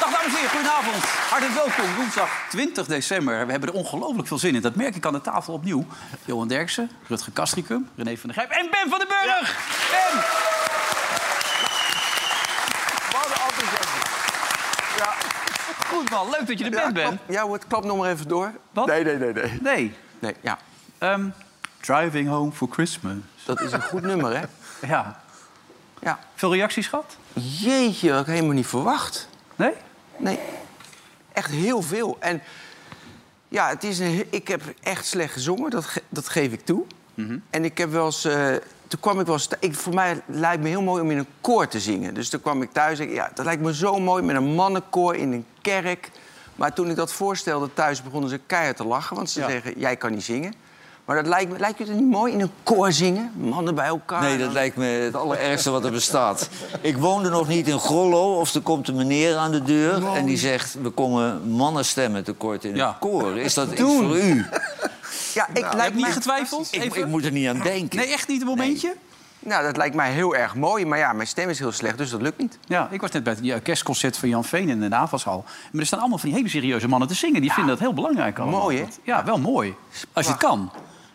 Dag dames en heren, goedenavond. Hartelijk welkom, woensdag 20 december. We hebben er ongelooflijk veel zin in. Dat merk ik aan de tafel opnieuw. Johan Derksen, Rutger Kastricum, René van der Grijp en Ben van den Burg. Ben! Wat een enthousiasme. Ja, Goed man, leuk dat je er ja, bent, Ben. klap, ja, hoor, klap nog maar even door. Wat? Nee, nee, nee, nee. Nee. Nee, ja. Ehm, driving home for Christmas. Dat is een goed nummer, hè? Ja. Ja. Veel reacties gehad? Jeetje, dat had ik helemaal niet verwacht. Nou, Nee? Nee, echt heel veel. En ja, het is een, he- ik heb echt slecht gezongen, dat, ge- dat geef ik toe. Mhm. En ik heb wel eens... eh, toen kwam ik wel eens... thu- Ik, voor mij lijkt me heel mooi om in een koor te zingen. Dus toen kwam ik thuis en ik, ja, dat lijkt me zo mooi met een mannenkoor in een kerk. Maar toen ik dat voorstelde thuis, begonnen ze keihard te lachen. Want ze Ja. zeggen, jij kan niet zingen. Maar dat lijkt, me, lijkt je het niet mooi in een koor zingen? Mannen bij elkaar. Nee, dat lijkt me het allerergste wat er bestaat. Ik woonde nog niet in Grollo, of er komt een meneer aan de deur... en die zegt, we komen mannenstemmen tekort in Ja. het koor. Is dat iets voor u? Ja, ik Nou, Je lijk hebt niet mij- getwijfeld? Ik, Even? ik moet er niet aan denken. Nee, echt niet een momentje? Nou, dat lijkt mij heel erg mooi. Maar ja, mijn stem is heel slecht, dus dat lukt niet. Ja, ik was net bij het ja, kerstconcert van Jan Veen in de Navashal. Maar er staan allemaal van die hele serieuze mannen te zingen. Die vinden dat heel belangrijk. Allemaal. Mooi, hè? Ja, wel mooi. Als je het kan.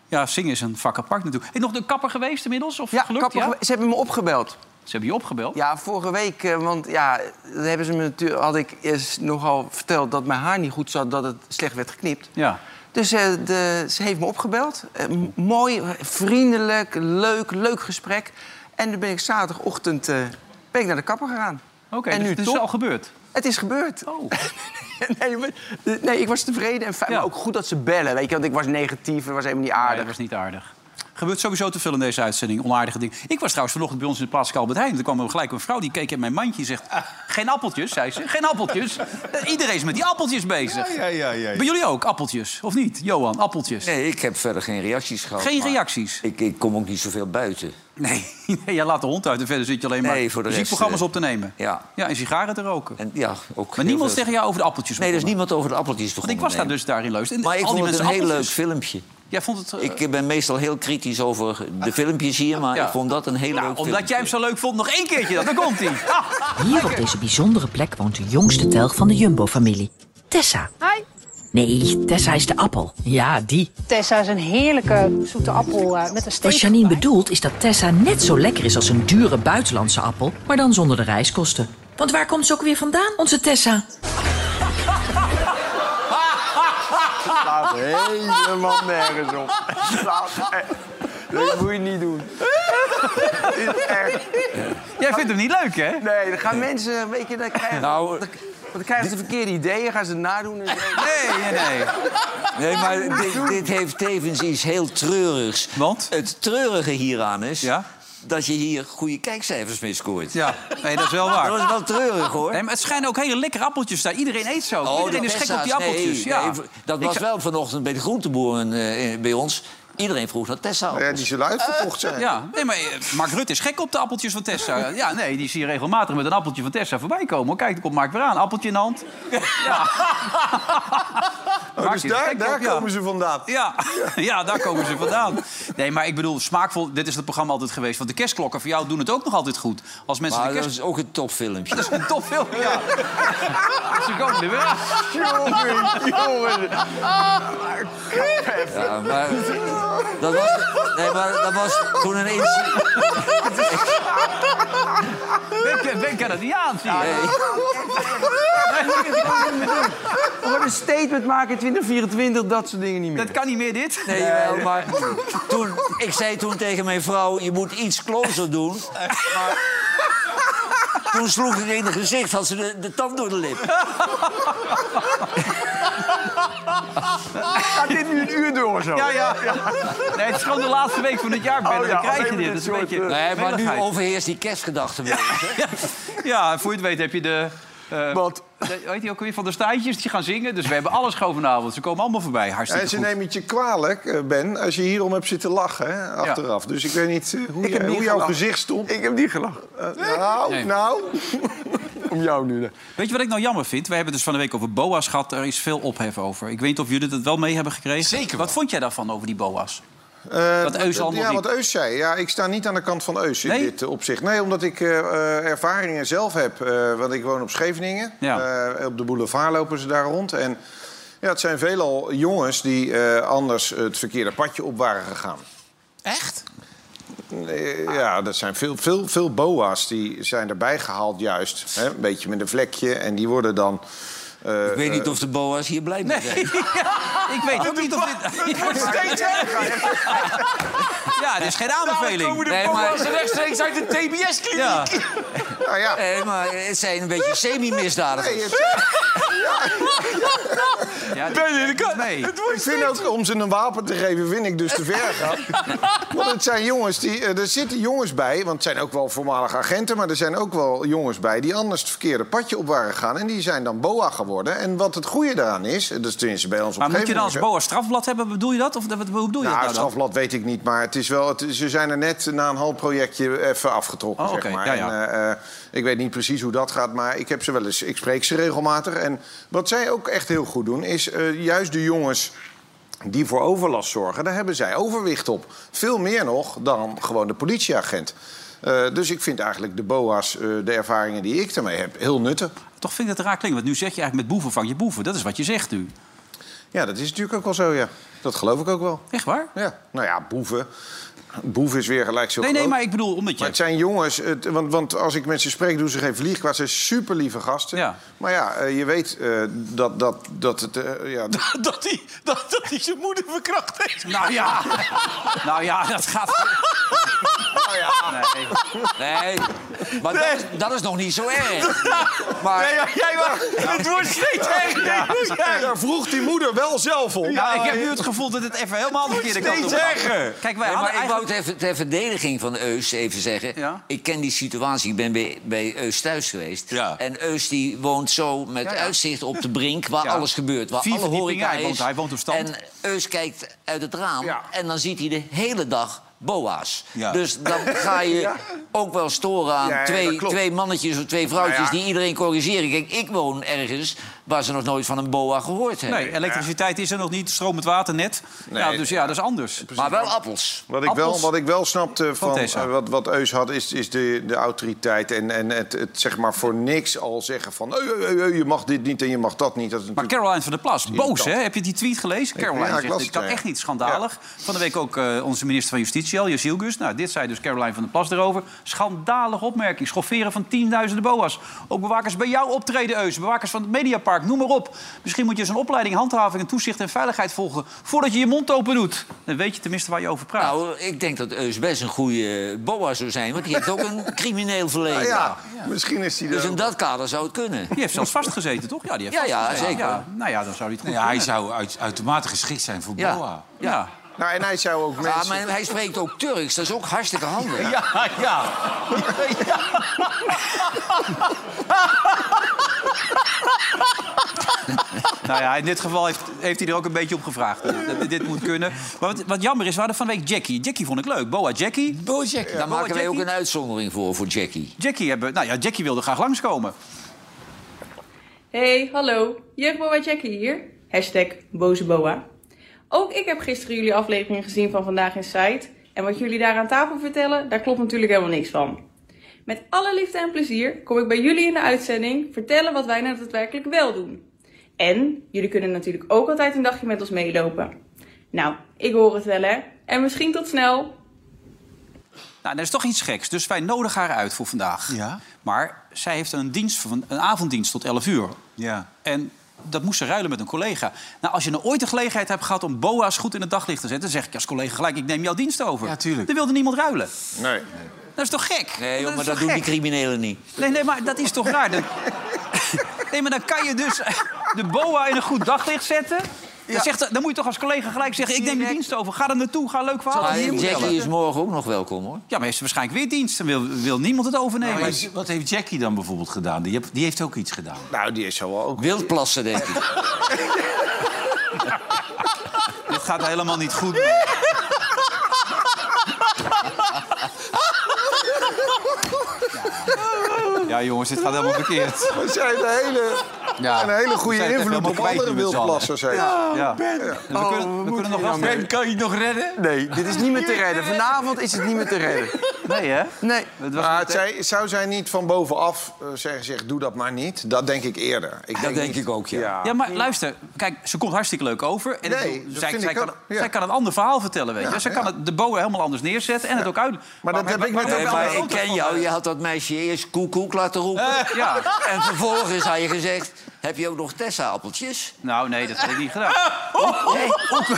Ja, zingen is een vak apart natuurlijk. Is nog de kapper geweest inmiddels? Of Ja, gelukt? kapper, Ja? gewe- ze hebben me opgebeld. Ze hebben je opgebeld. Ja, vorige week, eh, want ja, dat hebben ze me natuurlijk, had ik eens nogal verteld dat mijn haar niet goed zat, dat het slecht werd geknipt. Ja. Dus eh, de, ze heeft me opgebeld. Eh, m- mooi, vriendelijk, leuk, leuk gesprek. En dan ben ik zaterdagochtend eh, ben ik naar de kapper gegaan. Oké, en dus nu het is top. al gebeurd. Het is gebeurd. Oh. nee, maar- eh, nee, ik was tevreden en fijn. Ja. Maar ook goed dat ze bellen, weet je, want ik was negatief, en was helemaal niet Nee, aardig. dat was niet aardig. Gebeurt sowieso te veel in deze uitzending, onaardige dingen. Ik was trouwens vanochtend bij ons in de plaatselijke Albert Heijn. Er kwam er gelijk een vrouw die keek in mijn mandje en zegt... Geen appeltjes, zei ze. Geen appeltjes. Eh, Iedereen is met die appeltjes bezig. Ja, ja, ja, ja. Bij jullie ook appeltjes, of niet? Johan, appeltjes. Nee, ik heb verder geen reacties gehad. Geen maar reacties? Ik, ik kom ook niet zoveel buiten. Nee, nee, jij laat de hond uit en verder zit je alleen maar Nee, voor de rest, muziekprogramma's eh, op te nemen. ja. ja, en sigaren te roken. En, ja, ook maar heel niemand veel- zegt jou over de appeltjes. Nee, er is begonnen. niemand over de appeltjes Want begonnen. ik was daar nee. dus daar in Leusden. En Maar ik al die vond het een mensen heel leuk appeltjes. filmpje. Jij vond het... eh, Ik ben meestal heel kritisch over de filmpjes hier, maar ja. ik vond dat een heel nou, leuk omdat filmpje. jij hem zo leuk vond, nog één keertje dan. Daar komt hij. Ah, Hier op deze bijzondere plek woont de jongste telg van de Jumbo-familie. Tessa. Hi. Nee, Tessa is de appel. Ja, die. Tessa is een heerlijke zoete appel eh, met een steek. Wat Janine bedoelt is dat Tessa net zo lekker is als een dure buitenlandse appel, maar dan zonder de reiskosten. Want waar komt ze ook weer vandaan, onze Tessa? slaat helemaal nergens op. Slaat echt- Dat moet je niet doen. Dit is echt... Jij vindt hem niet leuk, hè? Nee, dan gaan mensen, weet je, dan krijgen, Nou, dan, dan krijgen ze verkeerde ideeën, gaan ze het nadoen en zo. Nee, nee, nee. Nee, Eh, maar dit, dit heeft tevens iets heel treurigs. Want? Het treurige hieraan is Ja? dat je hier goede kijkcijfers mee scoort. Ja, nee, dat is wel waar. Dat is wel treurig, hoor. Nee, maar het schijnen ook hele lekkere appeltjes daar. Iedereen eet zo. Iedereen die is gek Tessa's, op die appeltjes. Oh, nee, ja. nee, dat Ik was zou- wel vanochtend bij de groenteboeren eh, eh, bij ons. Iedereen vroeg naar Tessa. Ja, die zullen uitverkocht zijn. Ja, nee, maar eh, Mark Rutte is gek op de appeltjes van Tessa. Ja, nee, die zie je regelmatig met een appeltje van Tessa voorbij komen. hoor. Kijk, er komt Mark weer aan. Appeltje in de hand. Ja. Oh, Mark dus is gek daar, op, daar ja. komen ze vandaan. Ja. ja, daar komen ze vandaan. Nee, maar ik bedoel, smaakvol, dit is het programma altijd geweest. Want de kerstklokken voor jou doen het ook nog altijd goed. Als mensen Maar de dat kerst... is ook een topfilmpje. Dat is een tof film, ja. Ze komen er weer aan. Ja, maar dat was, nee, maar dat was toen een incident. Ben, ben kan het niet aan, zie je. Gewoon een statement maken in 2024, dat soort dingen niet meer. Dat kan niet meer, dit. Nee, jawel, maar toen, ik zei toen tegen mijn vrouw, je moet iets closer doen. Maar toen sloeg ik in het gezicht, had ze de, de tand door de lip. Gaat dit nu een uur door zo? Ja, ja. Nee, het is gewoon de laatste week van het jaar, Ben. Oh, en ja, dan krijg je alleen dit. maar Dat is dit een eh, soort, beetje... Nee, maar nu Melligheid. overheerst die kerstgedachte weer. Ja, voor je het weet heb je de Eh, Want de- weet je ook weer van de staartjes die gaan zingen? Dus we hebben alles gewoon vanavond. Ze komen allemaal voorbij. Hartstikke En ze goed. nemen het je kwalijk, eh, Ben, als je hierom hebt zitten lachen hè, achteraf. Dus ik weet niet eh, hoe, Ik heb je, niet hoe jouw gelachen. gezicht stond. ik heb niet gelachen. Eh, nou, Nee. nou. Om jou nu. hè. Weet je wat ik nou jammer vind? We hebben dus van de week over boa's gehad. Er is veel ophef over. Ik weet niet of jullie het wel mee hebben gekregen. Zeker wel. Wat vond jij daarvan over die boa's? Eh, Wat Eus allemaal Ja, riep. wat Eus zei. Ja, ik sta niet aan de kant van Eus in Nee? dit eh, opzicht. Nee, omdat ik eh, eh, ervaringen zelf heb. Eh, want ik woon op Scheveningen. Ja. Eh, op de boulevard lopen ze daar rond. En ja, het zijn veelal jongens die eh, anders het verkeerde padje op waren gegaan. Echt? Nee, Ja, dat zijn veel, veel, veel boa's die zijn erbij gehaald juist. Hè? Een beetje met een vlekje. En die worden dan... eh, Ik weet niet of de boa's hier blij mee zijn. Ik weet ook niet of dit... Ah, Het wordt steeds Ja, dit is geen aanbeveling. Nee, maar, rechtstreeks uit de TBS-kliniek. Ja. nou ja, nee, maar het zijn een beetje semi-misdadigers. nee, het- Ja, ben je de Nee. ik vind ook, om ze een wapen te geven, vind ik dus te ver gaan. Want het zijn jongens die... eh, Er zitten jongens bij, want het zijn ook wel voormalige agenten... maar er zijn ook wel jongens bij die anders het verkeerde padje op waren gegaan. En die zijn dan boa geworden. En wat het goede daaraan is, eh, dat is tenminste bij ons op Maar moet je een dan als gegeven boa strafblad hebben? Bedoel je dat? Of dat- wat- hoe bedoel je Nou, dat nou dan? strafblad weet ik niet, maar het is wel, het, ze zijn er net na een half projectje even afgetrokken, Oh, oké, zeg maar. ja, ja. En, eh, eh, ik weet niet precies hoe dat gaat, maar ik heb ze wel eens, ik spreek ze regelmatig. En wat zij ook echt heel goed doen, is eh, juist de jongens die voor overlast zorgen, daar hebben zij overwicht op. Veel meer nog dan gewoon de politieagent. Eh, dus ik vind eigenlijk de BOA's, eh, de ervaringen die ik daarmee heb, heel nuttig. Toch vind ik het raar klinken. Want nu zeg je eigenlijk met boeven vang je boeven. Dat is wat je zegt nu. Ja, dat is natuurlijk ook wel zo, ja. Dat geloof ik ook wel. Echt waar? Ja, nou ja, boeven. Boeven is weer gelijk zo Nee, nee, groot. maar ik bedoel, omdat Maar je... het zijn jongens, het- want, want als ik met ze spreek, doen ze geen vliegkwaad. Ze zijn super lieve gasten. Ja. Maar ja, eh, je weet eh, dat, dat, dat het. eh, ja, Dat hij dat, dat die zijn moeder verkracht heeft. Nou ja. nou ja, dat gaat... Nou Nee. Nee, maar Dat, dat is nog niet zo erg. Maar Nee, ja, jij mag. Het wordt steeds erger. daar vroeg die moeder wel zelf om. Nou, ik heb nu het gevoel dat het even helemaal de verkeerde kant op Steeds gaat. erger. Kijk, wij Nee, maar hadden ik wou eigenlijk... ter, ter verdediging van Eus even zeggen. Ja. Ik ken die situatie. Ik ben bij, bij Eus thuis geweest. Ja. En Eus die woont zo met ja. uitzicht op de brink... waar Ja. alles gebeurt, waar Vier alle verdiepingen, horeca hij woont- is. hij woont op stand. En Eus kijkt uit het raam Ja. en dan ziet hij de hele dag boa's. Ja. Dus dan ga je ook wel storen aan Ja, ja, dat twee, klopt. twee mannetjes of twee vrouwtjes... Nou ja. die iedereen corrigeren. Kijk, ik woon ergens waar ze nog nooit van een boa gehoord hebben. eh, Nee, elektriciteit is er nog niet, stromend water net. ja, dus ja, dat is anders. Maar wel appels. Wat ik, wel, Appels wat ik wel snapte van Tessa. eh, wat, wat Eus had, is, is de, de autoriteit. En, en het, het zeg maar voor niks al zeggen van... "Ei, ei, ei, ei, je mag dit niet en je mag dat niet. Dat is Maar natuurlijk... Caroline van der Plas, boos kant. hè? Heb je die tweet gelezen? Caroline ja, ik zegt, las dit het, kan ja. echt niet, schandalig. Van de week ook eh, onze minister van Justitie al, Jacques Gus. Nou, dit zei dus Caroline van der Plas erover. Schandalige opmerking, schofferen van tienduizenden boa's. Ook bewakers bij jou optreden, Eus. Bewakers van het Mediapark, noem maar op. Misschien moet je eens een opleiding handhaving en toezicht en veiligheid volgen... voordat je je mond open doet. Dan weet je tenminste waar je over praat. Nou, ik denk dat Eus best een goede boa zou zijn, want die heeft ook een crimineel verleden. Nou ja, misschien is die Dus er in ook. dat kader zou het kunnen. die heeft zelfs vastgezeten, toch? Ja, die heeft Ja, ja, vastgezeten. zeker. Nou ja, dan zou hij het goed Ja, hij kunnen. zou uit, uitermate geschikt zijn voor Ja. Boa. Ja. Nou, en hij zou Ah, ook Ja, mensen... Ah, maar hij spreekt ook Turks, dat is ook hartstikke handig. Ja, ja. Nou ja, in dit geval heeft, heeft hij er ook een beetje op gevraagd. Dat dit moet kunnen. Maar wat, wat jammer is, we hadden van de week Jackie. Jackie vond ik leuk. Boa Jackie. Bojack. Daar Boa maken wij ook Jackie? een uitzondering voor, voor Jackie. Jackie hebben... Nou ja, Jackie wilde graag langskomen. Hey, hallo. Jeugdboa Jackie hier. Hashtag boze boa. Ook ik heb gisteren jullie aflevering gezien van Vandaag in Sight. En wat jullie daar aan tafel vertellen, daar klopt natuurlijk helemaal niks van. Met alle liefde en plezier kom ik bij jullie in de uitzending vertellen wat wij nou daadwerkelijk wel doen. En jullie kunnen natuurlijk ook altijd een dagje met ons meelopen. Nou, ik hoor het wel hè. En misschien tot snel. Nou, dat is toch iets geks. Dus wij nodigen haar uit voor vandaag. Ja. Maar zij heeft een, dienst, van- een avonddienst tot 11 uur. Ja. En dat moest ze ruilen met een collega. Nou, als je nou ooit de gelegenheid hebt gehad om boa's goed in het daglicht te zetten... zeg ik als collega gelijk, ik neem jouw dienst over. Ja, tuurlijk. Dan wilde niemand ruilen. Nee. Dat is toch gek? Nee, joh, maar is dat toch doen die gek? criminelen niet. Nee, nee, maar dat is toch raar? Dan- Nee, maar dan kan je dus de boa in een goed daglicht zetten. Dan, zegt, dan moet je toch als collega gelijk zeggen... ik neem je dienst over, ga er naartoe, ga een leuk verhaal. Maar Hier moet je Jackie is morgen ook nog welkom, hoor. Ja, maar is er waarschijnlijk weer dienst. Dan wil, wil niemand het overnemen. Maar is- wat heeft Jackie dan bijvoorbeeld gedaan? Die, heb- die heeft ook iets gedaan. Nou, die is zo wel ook... Wildplassen, denk ik. Dit gaat helemaal niet goed. Ja, jongens, dit gaat helemaal verkeerd. We zijn een hele, Ja. een hele We goede zijn het invloed helemaal op kwijt andere nu met z'n allen. wildplassers. hè. Oh, Ja. Dus we kunnen, we kunnen nog wel verder. kan je het nog redden? Nee, dit is niet meer te redden. Vanavond is het niet meer te redden. Nee, hè? Nee. Het was niet- Maar Ah, het zij, zou zij niet van bovenaf eh, zeggen, zeg, doe dat maar niet? Dat denk ik eerder. Ik Dat denk niet- ik ook, ja. Ja, maar luister, kijk, ze komt hartstikke leuk over. En Nee, ik bedoel, dat zij, vind zij ik kan, ook, ja. zij kan een ander verhaal vertellen, weet je. Ja, zij ja. kan het, de boa helemaal anders neerzetten en het ook uit. Maar dat heb ik met Nee, maar ik ken jou. Je had dat meisje eerst koekoek laten roepen. Eh, ja. En vervolgens had je gezegd... heb je ook nog Tessa-appeltjes? Nou, nee, dat heb ik niet gedaan. Hoe, hoe,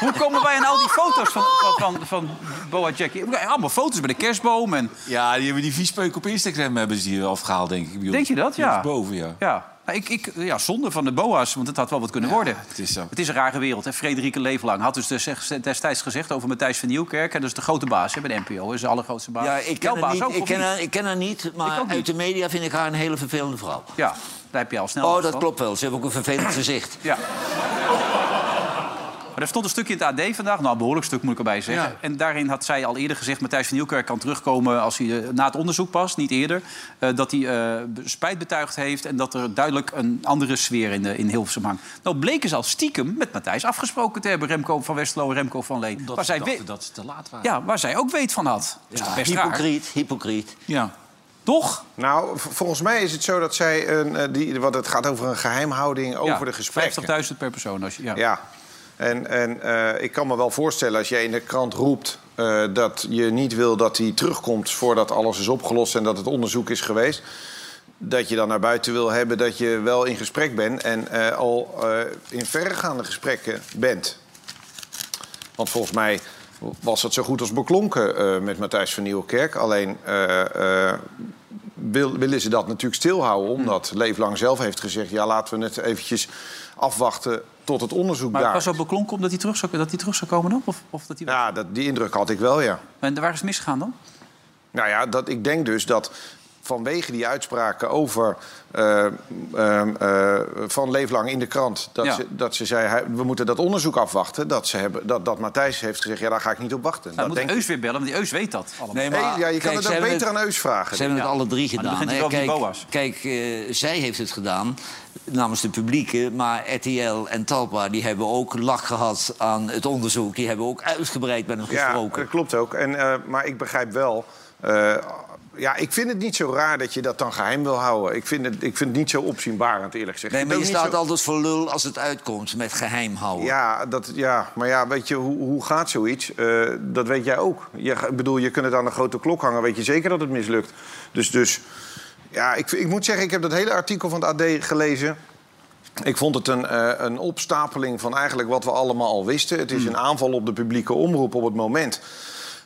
hoe komen wij aan al die foto's van, van, van, van Boa Jackie? Allemaal foto's bij de kerstboom en... Ja, die hebben die viespeuk op Instagram hebben ze hier afgehaald, denk ik. Denk je dat? Die Ja. is boven, ja. Ja. Nou, Ik, ik, ja, zonde van de boa's, want het had wel wat kunnen worden. het is zo. het is een rare wereld. En Frederike Leeflang had dus des- destijds gezegd over Matthijs van Nieuwkerk. En dat is de grote baas hè, bij de NPO, hè, is de allergrootste baas. Ja, ik Jouw ken, haar baas niet, ook, ik, of ken niet? haar, ik ken haar niet, maar ook niet. uit de media vind ik haar een hele vervelende vrouw. Ja, daar heb je al snel Oh, last dat van. klopt wel. Ze heeft ook een vervelend gezicht. Nou, Ja. Maar er stond een stukje in het AD vandaag, nou een behoorlijk stuk moet ik erbij zeggen. Ja. En daarin had zij al eerder gezegd, Matthijs van Nieuwkerk kan terugkomen als hij eh, na het onderzoek pas, niet eerder. eh, dat hij eh, be- spijt betuigd heeft en dat er duidelijk een andere sfeer in, de, in Hilversum hangt. Nou bleken ze al stiekem met Matthijs afgesproken te hebben, Remco van Westerlo en Remco van Leen. Dat waar, ze zij we- dachten dat ze te laat waren. ja, waar zij ook weet van had. Dus dat is best raar. Hypocriet, hypocriet. Ja. Toch? Nou, v- volgens mij is het zo dat zij... Een, eh, die, wat het gaat over een geheimhouding over Ja, de gesprekken. 50.000 per persoon. Als je, ja. Ja. En, en eh, ik kan me wel voorstellen als jij in de krant roept... eh, dat je niet wil dat hij terugkomt voordat alles is opgelost... en dat het onderzoek is geweest... dat je dan naar buiten wil hebben dat je wel in gesprek bent... en eh, al eh, in verregaande gesprekken bent. Want volgens mij was dat zo goed als beklonken eh, met Matthijs van Nieuwkerk. Alleen eh, eh, wil, willen ze dat natuurlijk Hmm. stilhouden... omdat Leeflang zelf heeft gezegd... ja, laten we het eventjes afwachten tot het onderzoek Maar het daar... was al beklonken omdat hij terug zou, dat hij terug zou komen dan? Of, of dat hij... Ja, dat, die indruk had ik wel, ja. En waar is het misgegaan dan? Nou ja, dat, ik denk dus dat vanwege die uitspraken over eh, ehm, eh, van Leeflang in de krant... dat, Ja. ze, dat ze zei, hij- we moeten dat onderzoek afwachten... dat, ze hebben, dat, dat Matthijs heeft gezegd, ja, daar ga ik niet op wachten. Nou, dat dan moet denk ik. Eus weer bellen, want die Eus weet dat allemaal. Nee, Hey, ja, je kijk, kan ze het ook hebben beter aan Eus vragen. Ze hebben het alle drie dan gedaan. begint hè. hij wel Kijk, over die boa's. kijk eh, zij heeft het gedaan namens de publieke. Maar RTL en Talpa die hebben ook lak gehad aan het onderzoek. Die hebben ook uitgebreid met hem gesproken. Ja, dat klopt ook. En, eh, maar ik begrijp wel... eh, ja, ik vind het niet zo raar dat je dat dan geheim wil houden. Ik vind het, ik vind het niet zo opzienbarend, eerlijk gezegd. nee, Ik maar je vind het ook staat niet zo- altijd voor lul als het uitkomt met geheim houden. Ja, dat, ja, maar ja, weet je, hoe, hoe gaat zoiets? Eh, dat weet jij ook. Je, ga- ik bedoel, je kunt het aan een grote klok hangen, weet je zeker dat het mislukt. Dus, dus ja, ik, ik moet zeggen, ik heb dat hele artikel van het AD gelezen. Ik vond het een, eh, een opstapeling van eigenlijk wat we allemaal al wisten. Het is een aanval op de publieke omroep op het moment...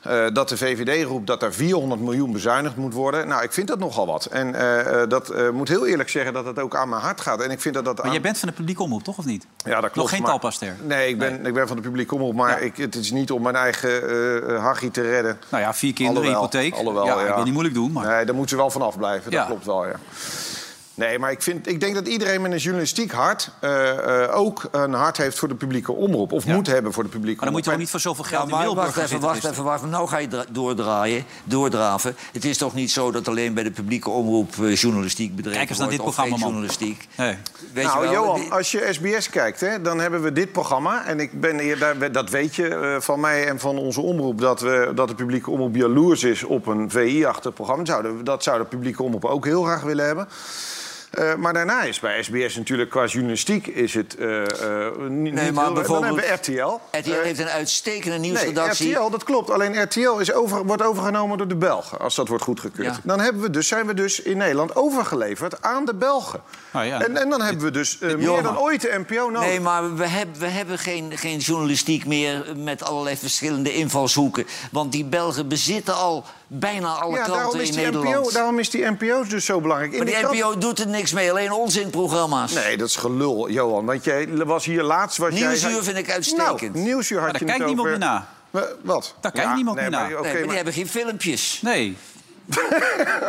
eh, dat de VVD roept dat er 400 miljoen bezuinigd moet worden. Nou, ik vind dat nogal wat. En eh, eh, dat eh, moet heel eerlijk zeggen dat het ook aan mijn hart gaat. En ik vind dat dat Maar aan- jij bent van de publieke omroep, toch of niet? ja, dat klopt. Nog geen maar- talpaster. Nee, ik ben, ik ben van de publieke omroep, maar ik, het is niet om mijn eigen eh hachie te redden. Nou ja, vier kinderen, Alhoewel, hypotheek. alhoewel, ja, ja. Ik wil niet moeilijk doen, maar... Nee, daar moeten ze wel van afblijven, Ja. dat klopt wel, ja. Nee, maar ik, vind, ik denk dat iedereen met een journalistiek hart... eh, eh, ook een hart heeft voor de publieke omroep. Of moet hebben voor de publieke Maar dan moet omroep. je ook niet voor zoveel Ja, geld in maar Middelburg wacht gaan even, zitten. wacht even, wacht even. Nou ga je dra- doordraaien, doordraven. Het is toch niet zo dat alleen bij de publieke omroep eh, journalistiek bedreven Kijk eens naar wordt... dit of programma, geen man. journalistiek. Nee. Weet nou, je wel, Johan, dit- als je SBS kijkt, hè, dan hebben we dit programma. En ik ben hier, daar- dat weet je eh, van mij en van onze omroep... Dat, we, dat de publieke omroep jaloers is op een VI-achtig programma. Zouden, we- dat zou de publieke omroep ook heel graag willen hebben. Eh, maar daarna is bij SBS natuurlijk qua journalistiek is het eh, eh, ni- niet maar heel- Dan bijvoorbeeld- hebben we RTL. RTL heeft een uitstekende Nee, nieuwsredactie. RTL, dat klopt. Alleen RTL is over, wordt overgenomen door de Belgen, als dat wordt goedgekeurd. Ja. Dan hebben we dus, zijn we dus in Nederland overgeleverd aan de Belgen. Ah, ja. en, en dan hebben we dus eh, meer Joma. dan ooit de NPO nodig. Nee, maar we, heb, we hebben geen, geen journalistiek meer met allerlei verschillende invalshoeken. Want die Belgen bezitten al bijna alle ja, kranten daarom is, in die Nederland. NPO, daarom is die NPO dus zo belangrijk. In maar die krant- NPO doet er niks niks mee, alleen onzinprogramma's. Nee, dat is gelul, Johan. Want jij was hier laatst... Wat jij Nieuwsuur zei- vind ik uitstekend. Nou, nieuwsuur had Maar je daar het kijkt over... niemand meer naar. Wat? Daar kijkt niemand nee, meer maar- naar. oké, Nee, maar die maar hebben geen filmpjes. Nou, Nee.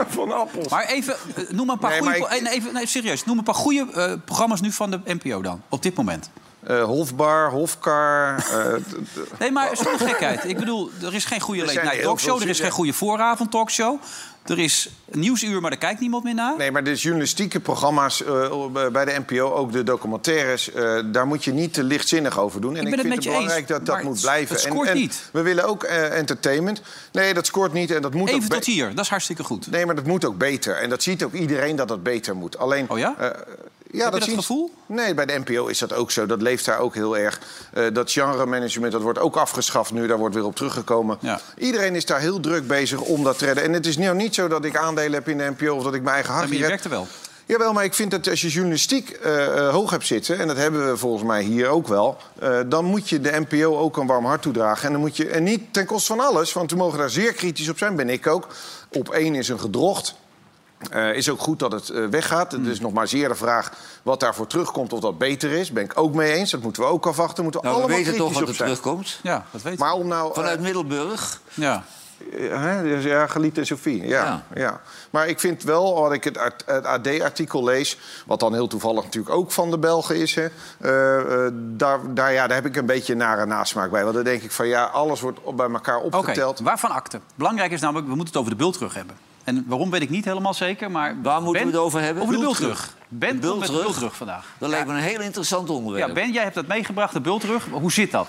van appels. Maar even, eh, noem maar een paar Nee, goede... maar ik- eh, nee, even, nee, serieus, noem een paar goede eh, programma's nu van de NPO dan. Op dit moment. Eh, Hofbar, Hofkar... eh, d- d- Nee, maar zonder gekheid. Ik bedoel, er is geen goede Oh. late Er zijn night heel talkshow. veel Er is geen zin- goede vooravond talkshow. Er is een nieuwsuur, maar daar kijkt niemand meer naar. Nee, maar de journalistieke programma's eh, bij de NPO, ook de documentaires... eh, daar moet je niet te lichtzinnig over doen. En ben ik, het vind met je het belangrijk eens, dat dat maar moet het- blijven. het En- scoort en, niet. We willen ook eh, entertainment. Nee, dat scoort niet en dat moet ook... Even be- tot hier, dat is hartstikke goed. Nee, maar dat moet ook beter. En dat ziet ook iedereen dat dat beter moet. Alleen, Oh ja? eh, ja, dat zien- gevoel? Nee, bij de NPO is dat ook zo. Dat leeft daar ook heel erg. Eh, dat genremanagement, dat wordt ook afgeschaft nu. Daar wordt weer op teruggekomen. Ja. Iedereen is daar heel druk bezig om dat te redden. En het is nou niet zo dat ik aandelen heb in de NPO... of dat ik mijn eigen Maar hachje je red. werkt er wel. Jawel, maar ik vind dat als je journalistiek eh, eh, hoog hebt zitten... en dat hebben we volgens mij hier ook wel... eh, dan moet je de NPO ook een warm hart toedragen. En, dan moet je, en niet ten koste van alles, want we mogen daar zeer kritisch op zijn. Ben ik ook. Op één is een gedrocht. Eh, is ook goed dat het eh, weggaat. Het Mm. is nog maar zeer de vraag wat daarvoor terugkomt... of dat beter is. Ben ik ook mee eens. Dat moeten we ook afwachten. Moeten we Nou, we allemaal weten kritisch toch wat op er zijn. terugkomt. Ja, dat weet ik. Maar om nou... eh, Vanuit Middelburg. Ja. eh, hè, Ja, Geliet en Sophie. Ja, Ja. ja. Maar ik vind wel, wat ik het, art- het AD-artikel lees... wat dan heel toevallig natuurlijk ook van de Belgen is... Hè, eh, eh, daar, daar, ja, daar heb ik een beetje een nare nasmaak bij. Want dan denk ik van, ja, alles wordt op- bij elkaar Oké, opgeteld. waarvan akte? Belangrijk is namelijk, we moeten het over de bult terug hebben. En waarom weet ik niet helemaal zeker, maar... Waar moeten we het over hebben? Over de bult Bultrug. terug. Ben De komt met de bultrug? bult terug vandaag. Dat lijkt me een heel interessant onderwerp. Ja, Ben, jij hebt dat meegebracht, de bult terug. Hoe zit dat?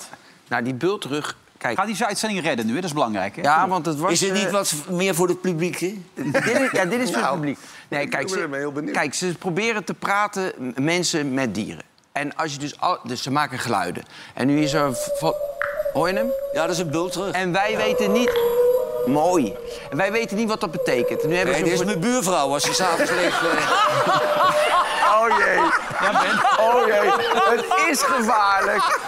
Nou, die bultrug... Kijk, Ga die uitzending redden nu, hè? dat is belangrijk. Hè? ja, want het was... Is dit eh, niet wat meer voor het publiek? hè? dit is, ja, dit is voor het publiek. Nee, kijk, ben heel ze, benieuwd. kijk, ze proberen te praten m- mensen met dieren. En als je dus... Al, dus ze maken geluiden. En nu is er... v- van- Hoor je hem? Ja, dat is een bult terug. En wij weten niet... Mooi. En wij weten niet wat dat betekent. En Nu hebben Nee, ze dit is voor- mijn buurvrouw als ze s'avonds leeft. eh. Oh jee, Ja, Ben. oh jee. Het is gevaarlijk.